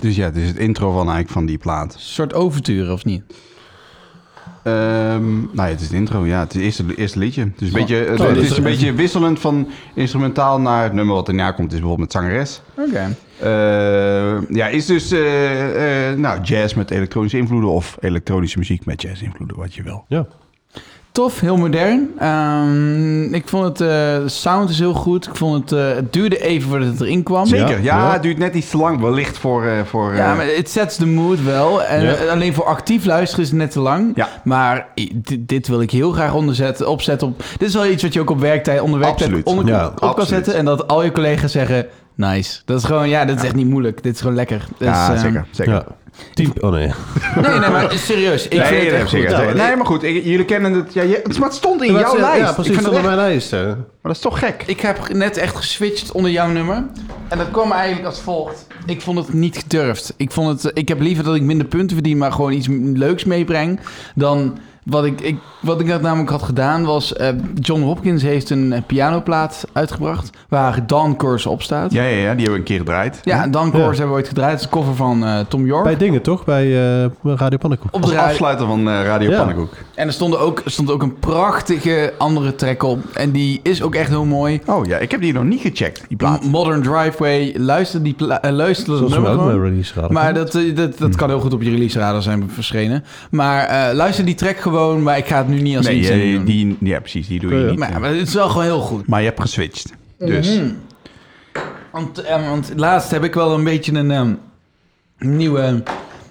Speaker 3: Dus ja, dit is het intro van eigenlijk van die plaat.
Speaker 2: Een soort overturen, of niet?
Speaker 3: Ehm, nou ja, het is de intro, ja. Het is het eerste, eerste liedje. Het is een, beetje, het,
Speaker 2: oh,
Speaker 3: is
Speaker 2: dus-
Speaker 3: een beetje wisselend van instrumentaal naar het nummer wat erna komt. Het is bijvoorbeeld met zangeres.
Speaker 2: Oké.
Speaker 3: Eh, ja, is dus eh, eh, nou, jazz met elektronische invloeden of elektronische muziek met jazz invloeden, wat je wil.
Speaker 4: Ja.
Speaker 2: Tof, heel modern. Ehm, ik vond het... eh, de sound is heel goed. Ik vond het... eh, het duurde even voordat het erin kwam.
Speaker 3: Zeker, ja,
Speaker 4: Ja, ja.
Speaker 3: het duurt net iets te lang, wellicht voor... eh, voor eh,
Speaker 2: Ja, maar het sets the mood wel. En
Speaker 4: Ja.
Speaker 2: eh, alleen voor actief luisteren is het net te lang.
Speaker 3: Ja.
Speaker 2: Maar i- dit, dit wil ik heel graag onderzetten, opzetten. Op, dit is wel iets wat je ook op werktijd, onder werktijd
Speaker 3: Absoluut.
Speaker 2: onder,
Speaker 4: Ja,
Speaker 2: op kan
Speaker 3: absoluut.
Speaker 2: zetten. En dat al je collega's zeggen, nice. Dat is gewoon, ja, dat is echt niet moeilijk. Dit is gewoon lekker. Dus,
Speaker 3: ja,
Speaker 2: ehm,
Speaker 3: zeker, zeker.
Speaker 4: ja. Tien, oh nee.
Speaker 2: Nee, nee, maar serieus. Ik
Speaker 3: Nee,
Speaker 2: vind
Speaker 3: nee,
Speaker 2: het
Speaker 3: nee,
Speaker 2: echt
Speaker 3: zeker.
Speaker 2: goed.
Speaker 3: Nee, nee, maar goed, ik- jullie kennen het. Ja, je, maar het stond in jouw
Speaker 4: Ja,
Speaker 3: lijst.
Speaker 4: Ja,
Speaker 3: Ik
Speaker 4: precies.
Speaker 3: vind
Speaker 4: Stond
Speaker 3: het
Speaker 4: op
Speaker 3: echt-
Speaker 4: mijn lijst. Hè.
Speaker 3: Maar dat is toch gek?
Speaker 2: Ik heb net echt geswitcht onder jouw nummer. En dat kwam eigenlijk als volgt. Ik vond het niet gedurfd. Ik, vond het, ik heb liever dat ik minder punten verdien, maar gewoon iets m- leuks meebreng. Dan wat ik, ik, wat ik net namelijk had gedaan was... eh, John Hopkins heeft een eh, pianoplaat uitgebracht waar Dawn Course op staat. Ja,
Speaker 3: Ja, ja, ja, die hebben we een keer gedraaid.
Speaker 2: Dawn Course
Speaker 4: Ja.
Speaker 2: hebben we ooit gedraaid. Dat is een cover van eh, Tom York.
Speaker 4: Bij dingen toch? Bij eh, Radio Pannenkoek.
Speaker 2: op de
Speaker 3: Als
Speaker 2: rij-
Speaker 3: afsluiter van eh, Radio
Speaker 4: Ja.
Speaker 3: Pannenkoek.
Speaker 2: En er stond ook, er stond ook een prachtige andere track op. En die is ook echt heel mooi.
Speaker 3: Oh ja, ik heb die nog niet gecheckt, die plaat.
Speaker 2: Modern Driveway, luister, die pla- eh, luister dat
Speaker 4: Zoals we
Speaker 2: nummer
Speaker 4: ook
Speaker 2: gewoon.
Speaker 4: bij Release Radar
Speaker 2: Maar
Speaker 4: hadden.
Speaker 2: dat, eh, dat,
Speaker 3: Hm.
Speaker 2: dat kan heel goed op je release radar zijn verschenen. Maar eh, luister die track gewoon, maar ik ga het nu niet als
Speaker 3: Nee,
Speaker 2: iets
Speaker 3: eh,
Speaker 2: doen.
Speaker 3: die, ja, precies, die doe je
Speaker 4: Ja.
Speaker 3: niet.
Speaker 2: Maar, maar het is wel gewoon heel goed.
Speaker 3: Maar je hebt geswitcht. Dus.
Speaker 2: Want, eh, want laatst heb ik wel een beetje een ehm, nieuwe...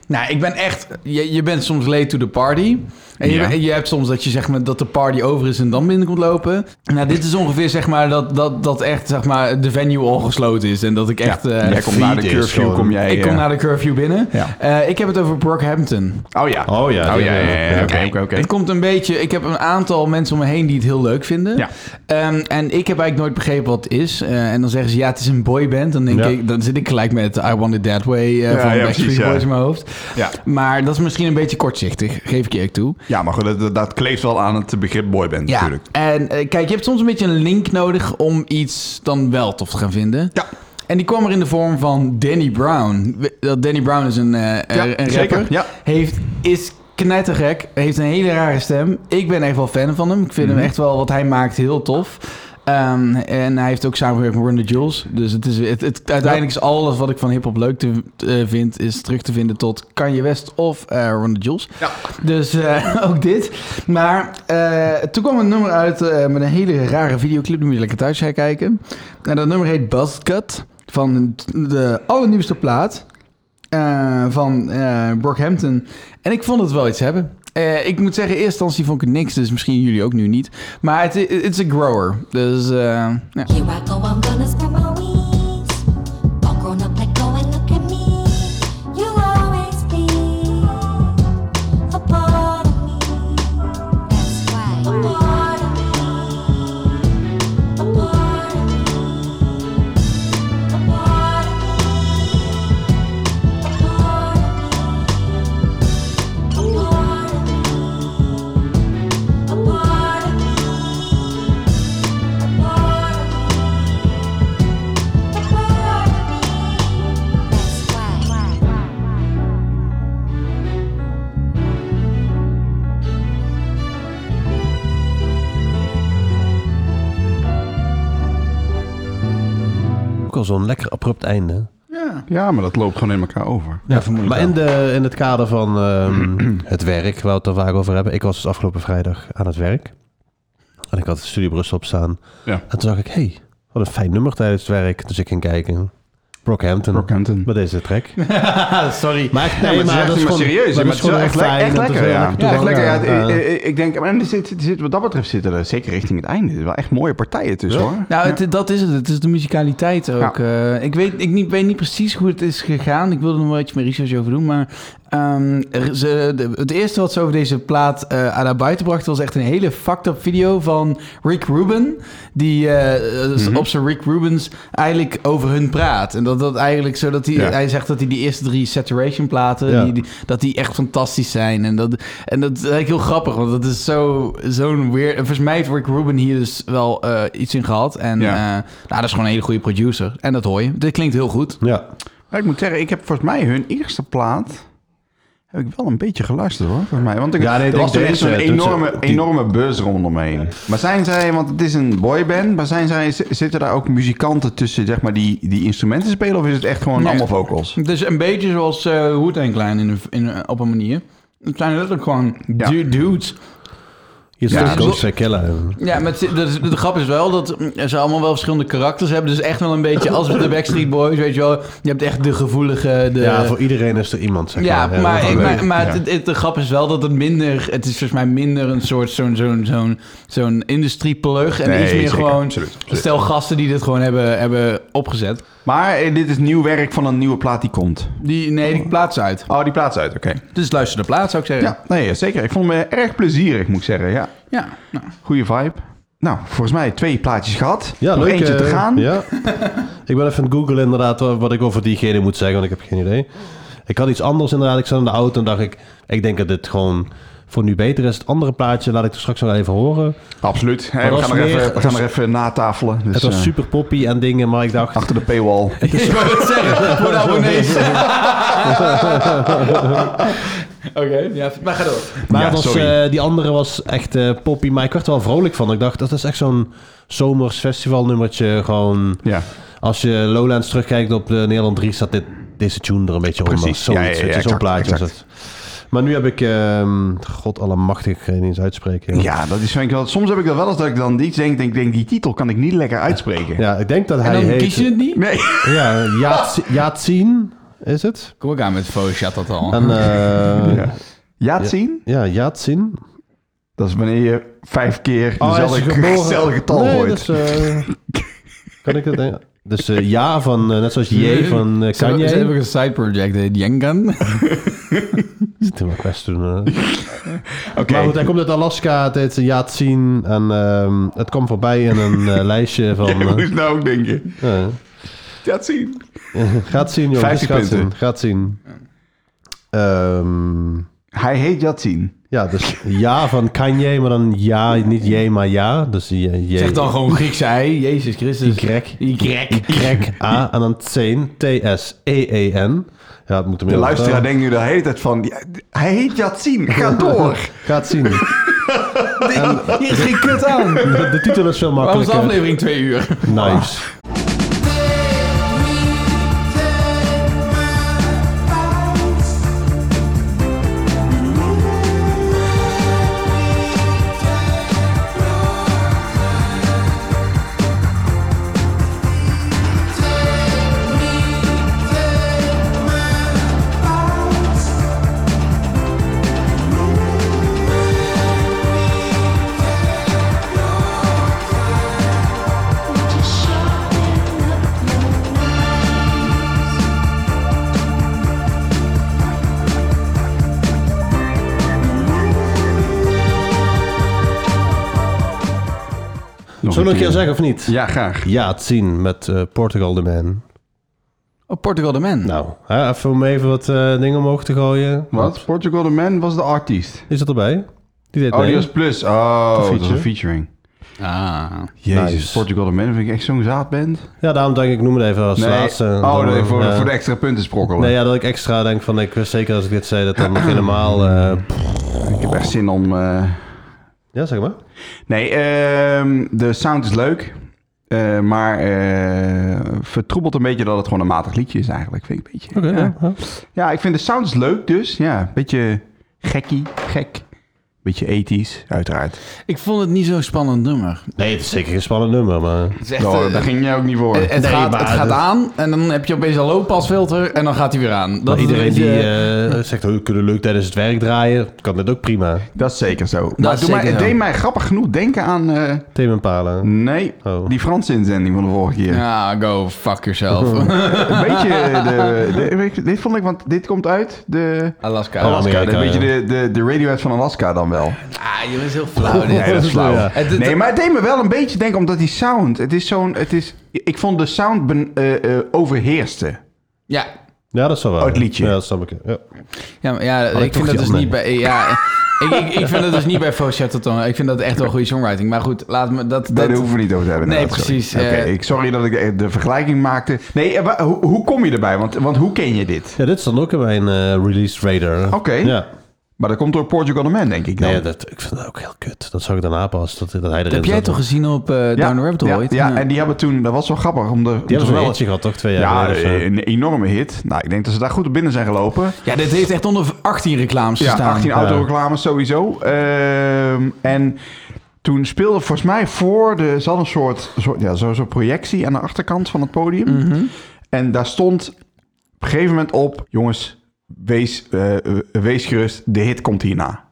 Speaker 2: Nou, ik ben echt... Je, je bent soms late to the party. En je,
Speaker 3: Ja.
Speaker 2: en je hebt soms dat je zeg maar dat de party over is en dan binnen komt lopen. Nou, dit is ongeveer zeg maar dat, dat, dat echt zeg maar de venue al gesloten is. En dat ik echt... eh,
Speaker 3: jij komt na de
Speaker 4: feed is
Speaker 3: curfew,
Speaker 4: gewoon-
Speaker 3: kom jij...
Speaker 2: ik kom
Speaker 3: eh,
Speaker 2: naar de curfew binnen.
Speaker 3: Ja.
Speaker 2: Eh, ik heb het over Brockhampton.
Speaker 3: Oh ja.
Speaker 4: Oh ja,
Speaker 3: Oh
Speaker 4: die
Speaker 3: ja,
Speaker 4: hebben we
Speaker 3: ja,
Speaker 4: ook,
Speaker 3: ja,
Speaker 4: ja.
Speaker 3: oké, oké, oké.
Speaker 2: Het komt een beetje... Ik heb een aantal mensen om me heen die het heel leuk vinden.
Speaker 3: Ja.
Speaker 2: Ehm, en ik heb eigenlijk nooit begrepen wat het is. Eh, en dan zeggen ze, ja, het is een boyband. Dan, denk
Speaker 4: Ja.
Speaker 2: ik, dan zit ik gelijk met I Want It That Way eh,
Speaker 3: Ja,
Speaker 2: van
Speaker 3: ja,
Speaker 2: Backstreet
Speaker 3: precies, ja.
Speaker 2: Boys in mijn hoofd.
Speaker 3: Ja.
Speaker 2: Maar dat is misschien een beetje kortzichtig, geef ik eerlijk toe.
Speaker 3: Ja, maar goed, dat, dat kleeft wel aan het begrip boyband
Speaker 2: Ja,
Speaker 3: natuurlijk.
Speaker 2: en eh, kijk, je hebt soms een beetje een link nodig om iets dan wel tof te gaan vinden.
Speaker 3: Ja.
Speaker 2: En die kwam er in de vorm van Danny Brown. We- Dat Danny Brown is een, eh, eh, een rapper.
Speaker 3: zeker, ja.
Speaker 2: Heeft, is knettergek. Heeft een hele rare stem. Ik ben echt wel fan van hem. Ik vind
Speaker 3: Mhm.
Speaker 2: hem echt wel wat hij maakt heel tof. Ehm, en hij heeft ook samengewerkt met Run the Jewels. Dus het is, het, het- uiteindelijk is alles wat ik van hip-hop leuk te, eh, vind, is terug te vinden tot Kanye West of eh Run the Jewels.
Speaker 3: Ja.
Speaker 2: Dus eh, ook dit. Maar eh, toen kwam een nummer uit eh, met een hele rare videoclip. Die moet je lekker thuis herkijken. En dat nummer heet Buzzcut. Van de allernieuwste plaat eh, van eh, Brockhampton. En ik vond het wel iets hebben. Eh, ik moet zeggen, in eerste instantie vond ik het niks. Dus misschien jullie ook nu niet. Maar het i- it's a grower. Dus eh, ja.
Speaker 11: Here I go, I'm gonna spread my wings. All grown up, like go and look at me. You'll always be a part of me. That's right. A part of me. A part of me. A part of me. A part of me. A part of me. A part of me. A part of me.
Speaker 4: Ook al zo'n lekker abrupt einde.
Speaker 2: Ja.
Speaker 3: ja, maar dat loopt gewoon in elkaar over.
Speaker 4: maar in, de, in het kader van ehm, het werk, waar we het er vaak over hebben. Ik was dus afgelopen vrijdag aan het werk. En ik had de Studio Brussel op staan.
Speaker 3: Ja.
Speaker 4: En toen dacht ik, hey, wat een fijn nummer tijdens het werk. Dus ik ging kijken. Brockhampton.
Speaker 3: Brockhampton.
Speaker 4: Met deze track.
Speaker 2: Sorry.
Speaker 4: Maar,
Speaker 3: Nee, maar, het is echt- maar serieus, maar het is wel echt, le- echt lekker. Ja. Ja, echt lekker. Ja, Eh, het-
Speaker 4: eh,
Speaker 3: ik- ik- Ik denk, maar er zit, er zit- wat dat betreft zitten er zeker richting het einde. Er zijn wel echt mooie partijen tussen hoor.
Speaker 2: Nou, het, dat is het. Het is de musicaliteit ook. Eh, ik weet, ik niet, weet niet precies hoe het is gegaan. Ik wilde er nog een beetje meer research over doen. Maar ehm, er- ze, de- het eerste wat ze over deze plaat eh, aan naar buiten bracht... was echt een hele fucked up video van Rick Rubin. Die eh, eh, op zijn Rick Rubens eigenlijk over hun praat. En dat, dat eigenlijk zo dat hij...
Speaker 3: Ja.
Speaker 2: Hij zegt dat hij die eerste drie Saturation platen...
Speaker 4: Ja.
Speaker 2: Die, die- dat die echt fantastisch zijn. En dat, en dat is eigenlijk heel grappig. Want dat is zo- zo'n weer... en Volgens mij heeft Rick Rubin hier dus wel eh, iets in gehad. En
Speaker 3: Ja.
Speaker 2: eh, nou, dat is gewoon een hele goede producer. En dat hoor je. Dit klinkt heel goed.
Speaker 4: Ja.
Speaker 3: Maar ik moet zeggen, ik heb volgens mij hun eerste plaat... heb ik wel een beetje geluisterd hoor, volgens mij. Want ik,
Speaker 4: Ja, nee, ik
Speaker 3: er was
Speaker 4: denk
Speaker 3: toen echt zo'n
Speaker 4: deze, toen ze-
Speaker 3: enorme,
Speaker 4: die-
Speaker 3: enorme buzz rondomheen. Maar zijn zij, want het is een boyband... maar zijn zij, z- zitten daar ook muzikanten tussen zeg maar, die, die instrumenten spelen... of is het echt gewoon
Speaker 2: Nee.
Speaker 3: allemaal vocals?
Speaker 2: Het is Dus een beetje zoals uh, wu Klein in, een- in, een- op een manier. Het zijn letterlijk gewoon
Speaker 3: Ja.
Speaker 2: du- dudes.
Speaker 4: Je
Speaker 3: Ja, Eh,
Speaker 4: staat
Speaker 2: dus-
Speaker 4: ook Sekella.
Speaker 2: Ja, maar het, de, de, de grap is wel dat mm, ze allemaal wel verschillende karakters hebben. Dus echt wel een beetje als de Backstreet Boys, weet je wel. Je hebt echt de gevoelige... De,
Speaker 4: Ja, voor iedereen is er iemand, zeg
Speaker 2: Ja,
Speaker 4: maar.
Speaker 2: maar,
Speaker 4: dat
Speaker 2: ik,
Speaker 4: wel.
Speaker 2: maar, maar
Speaker 3: Ja.
Speaker 2: het, het- de grap is wel dat het minder... Het is volgens mij minder een soort zo'n zo'n zo'n zo'n industrieplug. En
Speaker 3: Nee,
Speaker 2: iets meer
Speaker 3: zeker.
Speaker 2: gewoon
Speaker 3: Absoluut, absoluut.
Speaker 2: stel gasten die dit gewoon hebben, hebben opgezet.
Speaker 3: Maar eh, dit is nieuw werk van een nieuwe plaat die komt.
Speaker 2: Die, nee, die plaats uit.
Speaker 3: Oh, die plaat is uit, oké.
Speaker 2: Dus luister de plaat, zou ik zeggen.
Speaker 3: Ja, nee, zeker. Ik vond hem eh, erg plezierig, moet ik zeggen. Ja,
Speaker 2: Ja, nou.
Speaker 3: goede vibe. Nou, volgens mij twee plaatjes gehad.
Speaker 4: Ja,
Speaker 3: Nog
Speaker 4: leuk,
Speaker 3: eentje te
Speaker 4: eh,
Speaker 3: gaan.
Speaker 4: Ja. ik ben even aan het googlen inderdaad wa- wat ik over diegene moet zeggen, want ik heb geen idee. Ik had iets anders inderdaad. Ik zat in de auto en dacht ik, ik denk dat dit gewoon voor nu beter is. Het andere plaatje laat ik er straks nog even horen.
Speaker 3: Dus, Absoluut. Hey,
Speaker 4: Maar
Speaker 3: we,
Speaker 4: dat
Speaker 3: gaan
Speaker 4: is
Speaker 3: er
Speaker 4: meer-
Speaker 3: even, we gaan er even natafelen. Dus,
Speaker 4: Het was
Speaker 3: eh,
Speaker 4: super poppy en dingen, maar ik dacht...
Speaker 3: Achter de paywall.
Speaker 2: Ik wou het zeggen, voor de abonnees. Oké, ja, maar ga door.
Speaker 4: Maar
Speaker 3: Ja,
Speaker 4: het was,
Speaker 3: sorry.
Speaker 4: eh, die andere was echt eh, poppy, maar ik werd er wel vrolijk van. Ik dacht, dat is echt zo'n zomers festivalnummertje. Gewoon,
Speaker 3: Ja,
Speaker 4: als je Lowlands terugkijkt op de Nederland 3, staat dit, deze tune er een beetje onder.
Speaker 3: Precies. Ja,
Speaker 4: Zoiets,
Speaker 3: ja, ja,
Speaker 4: weet je, zo'n
Speaker 3: exact,
Speaker 4: plaatje was
Speaker 3: exact.
Speaker 4: het. Maar nu heb ik, ehm god allemachtig, ik ga niet eens uitspreken. joh.
Speaker 3: ja dat is vind ik wel. Soms heb ik dat wel eens dat ik dan iets denk, denk, denk die titel kan ik niet lekker uitspreken.
Speaker 4: Ja, ik denk dat
Speaker 2: En
Speaker 4: hij
Speaker 2: dan
Speaker 4: heet...
Speaker 2: kies je het niet?
Speaker 3: Nee.
Speaker 4: Ja, Yaats- Yaatsien is het.
Speaker 2: Kom ik aan met Faux had dat al.
Speaker 4: En, eh, ja.
Speaker 3: Ja, het zien.
Speaker 4: Yaatsin.
Speaker 3: Dat is wanneer je vijf keer
Speaker 4: Oh, hij is
Speaker 3: dezelfde
Speaker 4: geboren-
Speaker 3: hetzelfde getal
Speaker 4: nee,
Speaker 3: gooit.
Speaker 4: Dus, eh, kan ik dat... eh, Dus eh, ja van, eh, net zoals J van eh,
Speaker 2: Ze hebben-
Speaker 4: Kanye.
Speaker 2: ze hebben een side project, eh, heet Jengan.
Speaker 4: Zit in mijn quest toen. eh.
Speaker 3: Oké.
Speaker 4: Maar goed, hij komt uit Alaska. Het heet Yaatsin. En ehm, het kwam voorbij in een eh, lijstje van...
Speaker 3: Hoe is
Speaker 4: eh,
Speaker 3: het nou ook, denk je?
Speaker 4: eh,
Speaker 3: Ja, het zien.
Speaker 4: gaat zien, jongens.
Speaker 3: 50
Speaker 4: Gaat
Speaker 3: punten.
Speaker 4: zien. Gaat zien.
Speaker 3: Hij heet Yatin.
Speaker 4: Ja, dus ja van Kanye, maar dan ja, niet je, maar ja. Dus je, je,
Speaker 2: Zeg dan gewoon Griekse ei, Jezus Christus.
Speaker 4: Y.
Speaker 2: Y.
Speaker 4: Greg A en dan Tseen, T-S-E-E-N. E Ja, dat moet hem
Speaker 3: De
Speaker 4: heel
Speaker 3: luisteraar
Speaker 4: goed
Speaker 3: denkt nu de hele tijd van... die- Hij heet Yatin, ga door.
Speaker 4: Gaat zien.
Speaker 2: Hier is geen kut aan.
Speaker 4: De, de titel is veel
Speaker 2: Waarom is de
Speaker 4: makkelijker.
Speaker 2: aflevering twee uur?
Speaker 4: Nice. Zullen we nog een keer zeggen of niet?
Speaker 3: Ja, graag.
Speaker 4: Ja, het zien met eh, Portugal the Man.
Speaker 2: Oh, Portugal de Man.
Speaker 4: Nou, hè, even om even wat eh, dingen omhoog te gooien.
Speaker 3: Wat? Portugal the Man was de artiest.
Speaker 4: Is dat erbij? Die deed
Speaker 3: Oh,
Speaker 4: mee.
Speaker 3: die was plus. Oh, dat was
Speaker 4: feature.
Speaker 3: een featuring.
Speaker 2: Ah.
Speaker 3: Jezus,
Speaker 4: Nice.
Speaker 3: Portugal the Man vind ik echt zo'n zaadband.
Speaker 4: Ja, daarom denk ik, ik noem het even als laatste.
Speaker 3: oh, nee, voor,
Speaker 4: eh, Ja.
Speaker 3: voor de extra punten sprokkelen.
Speaker 4: Nee, ja, dat ik extra denk van, ik wist zeker als ik dit zei, dat dan nog helemaal... eh, pff.
Speaker 3: Ik heb echt zin om... eh,
Speaker 4: ja, zeg maar.
Speaker 3: Nee, ehm, de sound is leuk. eh, maar eh, vertroebelt een beetje dat het gewoon een matig liedje is eigenlijk. Vind ik een beetje. ja.
Speaker 4: ja, ja.
Speaker 3: Ja, ik vind de sound is leuk dus. Ja, een beetje gekkie, gek. Beetje ethisch, uiteraard.
Speaker 2: Ik vond het niet zo'n spannend nummer.
Speaker 4: Nee, het is zeker geen spannend nummer, maar...
Speaker 2: Het, is echt,
Speaker 3: Oh,
Speaker 2: eh,
Speaker 3: daar ging jij ook niet voor.
Speaker 2: het, het
Speaker 4: Nou, Nee,
Speaker 2: gaat,
Speaker 4: maar
Speaker 2: het gaat
Speaker 4: dat-
Speaker 2: aan en dan heb je opeens een loopasfilter en dan gaat hij weer aan.
Speaker 4: Maar
Speaker 2: is
Speaker 4: iedereen
Speaker 2: een
Speaker 4: die
Speaker 2: beetje-
Speaker 4: eh, zegt, oh, we kunnen leuk tijdens het werk draaien, kan dit ook prima.
Speaker 3: Dat is zeker zo. maar
Speaker 2: is
Speaker 3: doe
Speaker 2: zeker
Speaker 3: mij, het
Speaker 2: zo.
Speaker 3: deed mij grappig genoeg denken aan... eh,
Speaker 4: Tim en Palen.
Speaker 3: nee,
Speaker 4: Oh.
Speaker 3: die Franse inzending van de vorige keer.
Speaker 2: Ja, go fuck yourself.
Speaker 3: Een beetje eh, de, de- Dit vond ik, want dit komt uit de...
Speaker 2: Alaska.
Speaker 4: Alaska.
Speaker 3: Alaska,
Speaker 4: Amerika,
Speaker 2: eh,
Speaker 3: een beetje
Speaker 4: ja.
Speaker 3: de, de, de Radiohead van Alaska dan wel.
Speaker 2: Ah, je bent heel flauw. dit.
Speaker 3: Nee, dat is flauw.
Speaker 4: Ja.
Speaker 2: Het- het-
Speaker 3: Nee, maar het deed me wel een beetje denken omdat die sound. Het is zo'n. Het is. Ik vond de sound ben, eh, eh, overheerste.
Speaker 2: Ja,
Speaker 4: Ja, dat is wel waar.
Speaker 3: Oh, het liedje.
Speaker 4: Ja, dat snap ik. Ja.
Speaker 2: ja, maar ja
Speaker 4: Oh, ik
Speaker 2: ik
Speaker 4: toch
Speaker 2: vind dat
Speaker 4: die
Speaker 2: dus
Speaker 4: andere.
Speaker 2: niet bij... Ja, ik, ik, ik vind dat dus niet bij Faux dan. Ik vind dat echt wel goede songwriting. Maar goed, laat me dat...
Speaker 3: Daar
Speaker 2: dat
Speaker 3: hoeven we niet over te hebben.
Speaker 2: Nee,
Speaker 3: Nou, sorry.
Speaker 2: precies,
Speaker 3: Oké,
Speaker 2: eh.
Speaker 3: ik, sorry dat ik eh, de vergelijking maakte. Nee, eh, wa- hoe, hoe kom je erbij? Want, want hoe ken je dit?
Speaker 4: ja, dit is dan ook in mijn eh, release radar.
Speaker 3: Oké.
Speaker 4: Ja.
Speaker 3: Maar dat komt door Portugal the Man, denk ik dan.
Speaker 4: Nee, dat, ik vind dat ook heel kut. Dat zou ik daarna pas, dat, dat hij erin
Speaker 2: heb jij
Speaker 4: zat.
Speaker 2: toch
Speaker 4: Die
Speaker 2: gezien op
Speaker 3: Ja,
Speaker 2: eh, Down the Rabbit Hole?
Speaker 3: ja,
Speaker 2: ooit?
Speaker 3: ja, en die hebben toen... Dat was wel grappig. Om de, om
Speaker 4: hebben
Speaker 3: te
Speaker 4: zo'n
Speaker 3: wel-
Speaker 4: hitje gehad, toch? Twee jaar
Speaker 3: Ja,
Speaker 4: geleden of zo.
Speaker 3: eh, een enorme hit. Nou, ik denk dat ze daar goed op binnen zijn gelopen.
Speaker 2: Ja, dit heeft echt onder 18 reclames
Speaker 3: Ja,
Speaker 2: gestaan.
Speaker 3: 18 autoreclames sowieso. Ehm, en toen speelde volgens mij voor de... Ze hadden een soort, soort ja, zo, zo'n projectie aan de achterkant van het podium. En daar stond op een gegeven moment op... Jongens, wees, eh, eh, wees gerust, de hit komt hierna.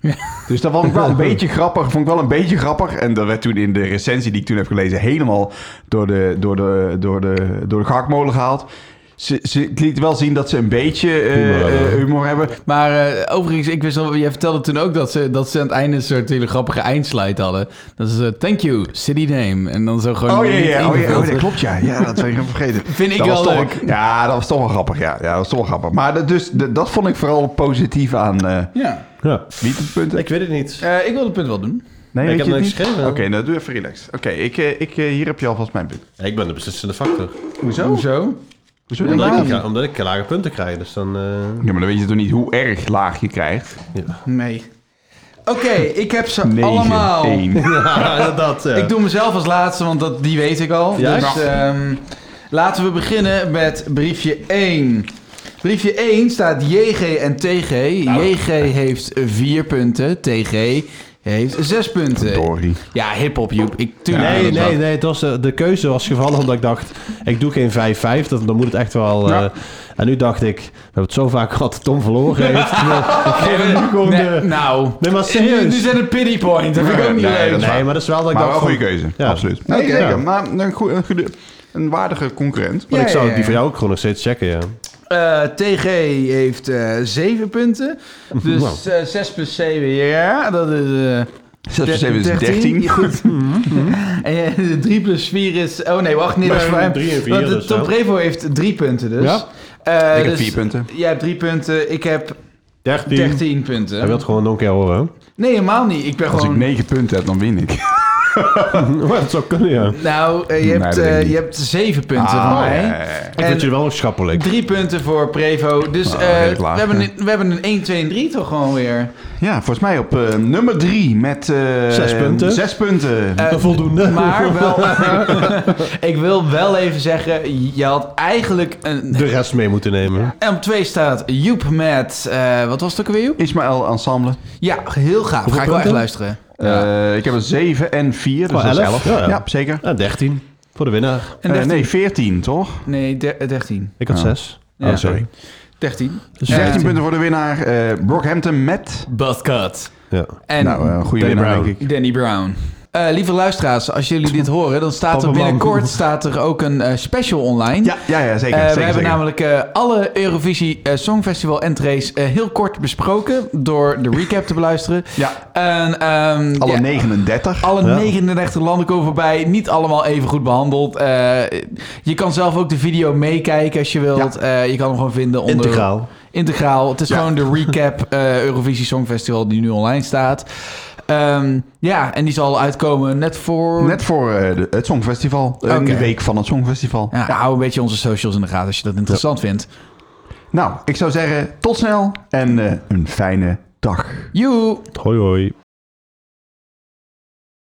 Speaker 2: Ja.
Speaker 3: Dus dat vond ik wel een beetje grappig. Vond ik wel een beetje grappig. En dat werd toen in de recensie die ik toen heb gelezen... helemaal door de, door de, door de, door de gehaktmolen gehaald. Ze, ze het liet wel zien dat ze een beetje eh,
Speaker 4: Humor hebben.
Speaker 3: eh, humor hebben.
Speaker 2: Maar eh, overigens, ik wist al, jij vertelde toen ook dat ze, dat ze aan het einde een soort hele grappige eindslide hadden. Dat is eh, thank you, city name. En dan zo gewoon...
Speaker 3: Oh ja, ja, oh, ja,
Speaker 2: ingevuld.
Speaker 3: oh, dat klopt ja. Ja, dat ben ik helemaal vergeten.
Speaker 2: Vind ik
Speaker 3: dat was
Speaker 2: wel
Speaker 3: toch-
Speaker 2: leuk.
Speaker 3: ja, dat was toch wel grappig. Ja, ja dat was toch wel grappig. Maar dat, dus, dat, dat vond ik vooral positief aan eh
Speaker 2: Ja.
Speaker 4: Ja.
Speaker 3: niet het punt.
Speaker 4: Ik weet het niet.
Speaker 2: Eh, ik wil het punt wel doen.
Speaker 3: nee,
Speaker 4: ik
Speaker 3: weet
Speaker 4: heb
Speaker 3: je het
Speaker 4: niks
Speaker 3: niet?
Speaker 4: geschreven.
Speaker 3: Oké, nou doe even relaxed. Oké, ik, eh, ik, eh, hier heb je alvast mijn punt.
Speaker 4: Ja, ik ben de beslissende factor.
Speaker 3: Hoezo?
Speaker 2: Hoezo?
Speaker 3: Hoezo denk
Speaker 4: Omdat,
Speaker 3: je
Speaker 4: ik,
Speaker 3: dat?
Speaker 4: ja, omdat ik lage punten krijg, dus dan... eh,
Speaker 3: Ja, maar dan weet je toch niet hoe erg laag je krijgt?
Speaker 2: Nee. Oké, ik heb ze
Speaker 3: 9,
Speaker 2: allemaal.
Speaker 3: 1.
Speaker 4: ja, inderdaad. ja.
Speaker 2: Ik doe mezelf als laatste, want dat, die weet ik al.
Speaker 4: Ja?
Speaker 2: Dus ehm, laten we beginnen met briefje 1. Briefje 1 staat JG en TG.
Speaker 3: Nou.
Speaker 2: JG heeft 4 punten, TG heeft 6 punten.
Speaker 3: Dory.
Speaker 2: Ja, hip-hop, Joep. Ik, tuurlijk.
Speaker 4: Nee,
Speaker 2: Ja, dat
Speaker 4: nee,
Speaker 2: wel.
Speaker 4: nee. Het was, eh, de keuze was gevallen omdat ik dacht, ik doe geen 5-5. dat- Dan moet het echt wel... eh, en nu dacht ik, we hebben het zo vaak gehad dat Tom verloren heeft. ik geef hem nu gewoon
Speaker 2: Nee,
Speaker 4: de-
Speaker 2: nou,
Speaker 4: Nee, maar
Speaker 2: nu-
Speaker 4: serieus.
Speaker 2: Nu, zijn het pity point. Dat vind ik ook niet
Speaker 3: Nee,
Speaker 2: leuk.
Speaker 3: dat is
Speaker 4: Nee,
Speaker 3: waar.
Speaker 4: maar dat is wel dat ik
Speaker 3: Maar wel
Speaker 4: dacht
Speaker 3: een goede
Speaker 4: van-
Speaker 3: keuze.
Speaker 4: Ja.
Speaker 3: Absoluut. Nee,
Speaker 4: Oké.
Speaker 3: zeker.
Speaker 4: Ja.
Speaker 3: Maar een, goede, een, goede, een waardige concurrent.
Speaker 4: Want ik
Speaker 2: Ja,
Speaker 4: zou
Speaker 2: ja,
Speaker 4: die voor
Speaker 2: ja.
Speaker 4: jou ook gewoon nog steeds checken, ja.
Speaker 2: Eh, TG heeft eh 7 punten. Dus eh 6 plus 7, ja, dat is... eh
Speaker 3: 6 plus 7 is Mhm. 13.
Speaker 2: Goed. en, eh, 3 plus 4 is... Oh nee, wacht, nee, dat is
Speaker 4: Nee,
Speaker 2: voor hem.
Speaker 4: drie en vier
Speaker 2: Want de
Speaker 4: dus,
Speaker 2: Top
Speaker 4: hè?
Speaker 2: Revo heeft 3 punten dus.
Speaker 4: Ja.
Speaker 2: Eh,
Speaker 3: Ik heb vier punten.
Speaker 2: Jij hebt drie punten. Ik heb
Speaker 4: 13.
Speaker 2: 13 punten.
Speaker 4: Hij wil het gewoon nog een keer horen.
Speaker 2: Nee, helemaal niet. Ik ben
Speaker 3: Als ik
Speaker 2: gewoon...
Speaker 3: negen punten heb, dan win ik.
Speaker 4: Maar dat zou kunnen, ja.
Speaker 2: Nou, eh, je,
Speaker 3: Nee,
Speaker 2: hebt,
Speaker 3: dat denk ik
Speaker 2: eh, je
Speaker 3: niet.
Speaker 2: hebt zeven punten
Speaker 3: Ah,
Speaker 2: van mij.
Speaker 3: ja, ja, ja.
Speaker 4: Ik vind je wel nog schappelijk.
Speaker 2: Drie punten voor Prevo. Dus
Speaker 3: Ah,
Speaker 2: eh,
Speaker 3: redelijk
Speaker 2: we,
Speaker 3: laag,
Speaker 2: hebben
Speaker 3: ja.
Speaker 2: een, we hebben een 1, 2 en 3 toch gewoon weer.
Speaker 3: Ja, volgens mij op eh, nummer drie met... eh,
Speaker 4: Zes punten.
Speaker 3: Zes punten.
Speaker 2: Eh,
Speaker 4: Voldoende.
Speaker 2: Maar wel, ik wil wel even zeggen, je had eigenlijk een...
Speaker 4: De rest mee moeten nemen.
Speaker 2: En op 2 staat Joep met, eh, wat was het ook alweer Joep?
Speaker 3: Ismaël Ensemble.
Speaker 2: Ja, heel gaaf. Ga ik wel
Speaker 4: punten?
Speaker 2: echt luisteren.
Speaker 3: Eh, ik heb een 7 en 4, dus
Speaker 4: Oh,
Speaker 3: dat is
Speaker 4: elf.
Speaker 3: 11.
Speaker 4: Ja, ja.
Speaker 3: zeker.
Speaker 4: Ja, 13. Voor de winnaar.
Speaker 2: En
Speaker 3: Eh,
Speaker 2: 13.
Speaker 3: nee, 14, toch?
Speaker 4: Dus
Speaker 2: Nee, de- eh, 13.
Speaker 4: Ik had
Speaker 3: Ja.
Speaker 4: 6.
Speaker 2: Ja.
Speaker 4: Oh, sorry.
Speaker 2: 13.
Speaker 4: Dus
Speaker 3: 13
Speaker 4: 15.
Speaker 3: punten voor de winnaar. eh Brockhampton met...
Speaker 2: Buzzcut.
Speaker 4: Ja.
Speaker 2: En
Speaker 3: nou, eh, goede
Speaker 4: Danny
Speaker 3: winnaar,
Speaker 4: Brown.
Speaker 3: denk ik.
Speaker 2: Danny Brown. Eh, lieve luisteraars, als jullie dit horen, dan staat er
Speaker 4: Papa Lam.
Speaker 2: binnenkort staat er ook een eh, special online.
Speaker 3: Ja, ja, ja zeker.
Speaker 2: Eh,
Speaker 3: zeker,
Speaker 2: we hebben
Speaker 3: zeker.
Speaker 2: namelijk eh, alle Eurovisie eh, Songfestival entries eh, heel kort besproken door de recap te beluisteren.
Speaker 3: Ja.
Speaker 2: En, ehm,
Speaker 3: Alle
Speaker 2: ja,
Speaker 3: 39.
Speaker 2: alle
Speaker 4: Ja.
Speaker 2: 39 landen komen voorbij. Niet allemaal even goed behandeld. Eh, je kan zelf ook de video meekijken als je wilt. Eh, je kan hem gewoon vinden onder...
Speaker 4: Integraal.
Speaker 2: Integraal. Het is
Speaker 3: Ja.
Speaker 2: gewoon de recap eh, Eurovisie Songfestival die nu online staat. Ehm, ja, en die zal uitkomen net voor...
Speaker 3: Net voor eh, de- het Songfestival. Eh,
Speaker 2: Oké.
Speaker 3: Een week van het Songfestival.
Speaker 2: Ja, hou een beetje onze socials in de gaten als je dat interessant vindt.
Speaker 3: Nou, ik zou zeggen tot snel en eh, een fijne dag.
Speaker 2: Joe!
Speaker 4: Hoi, hoi.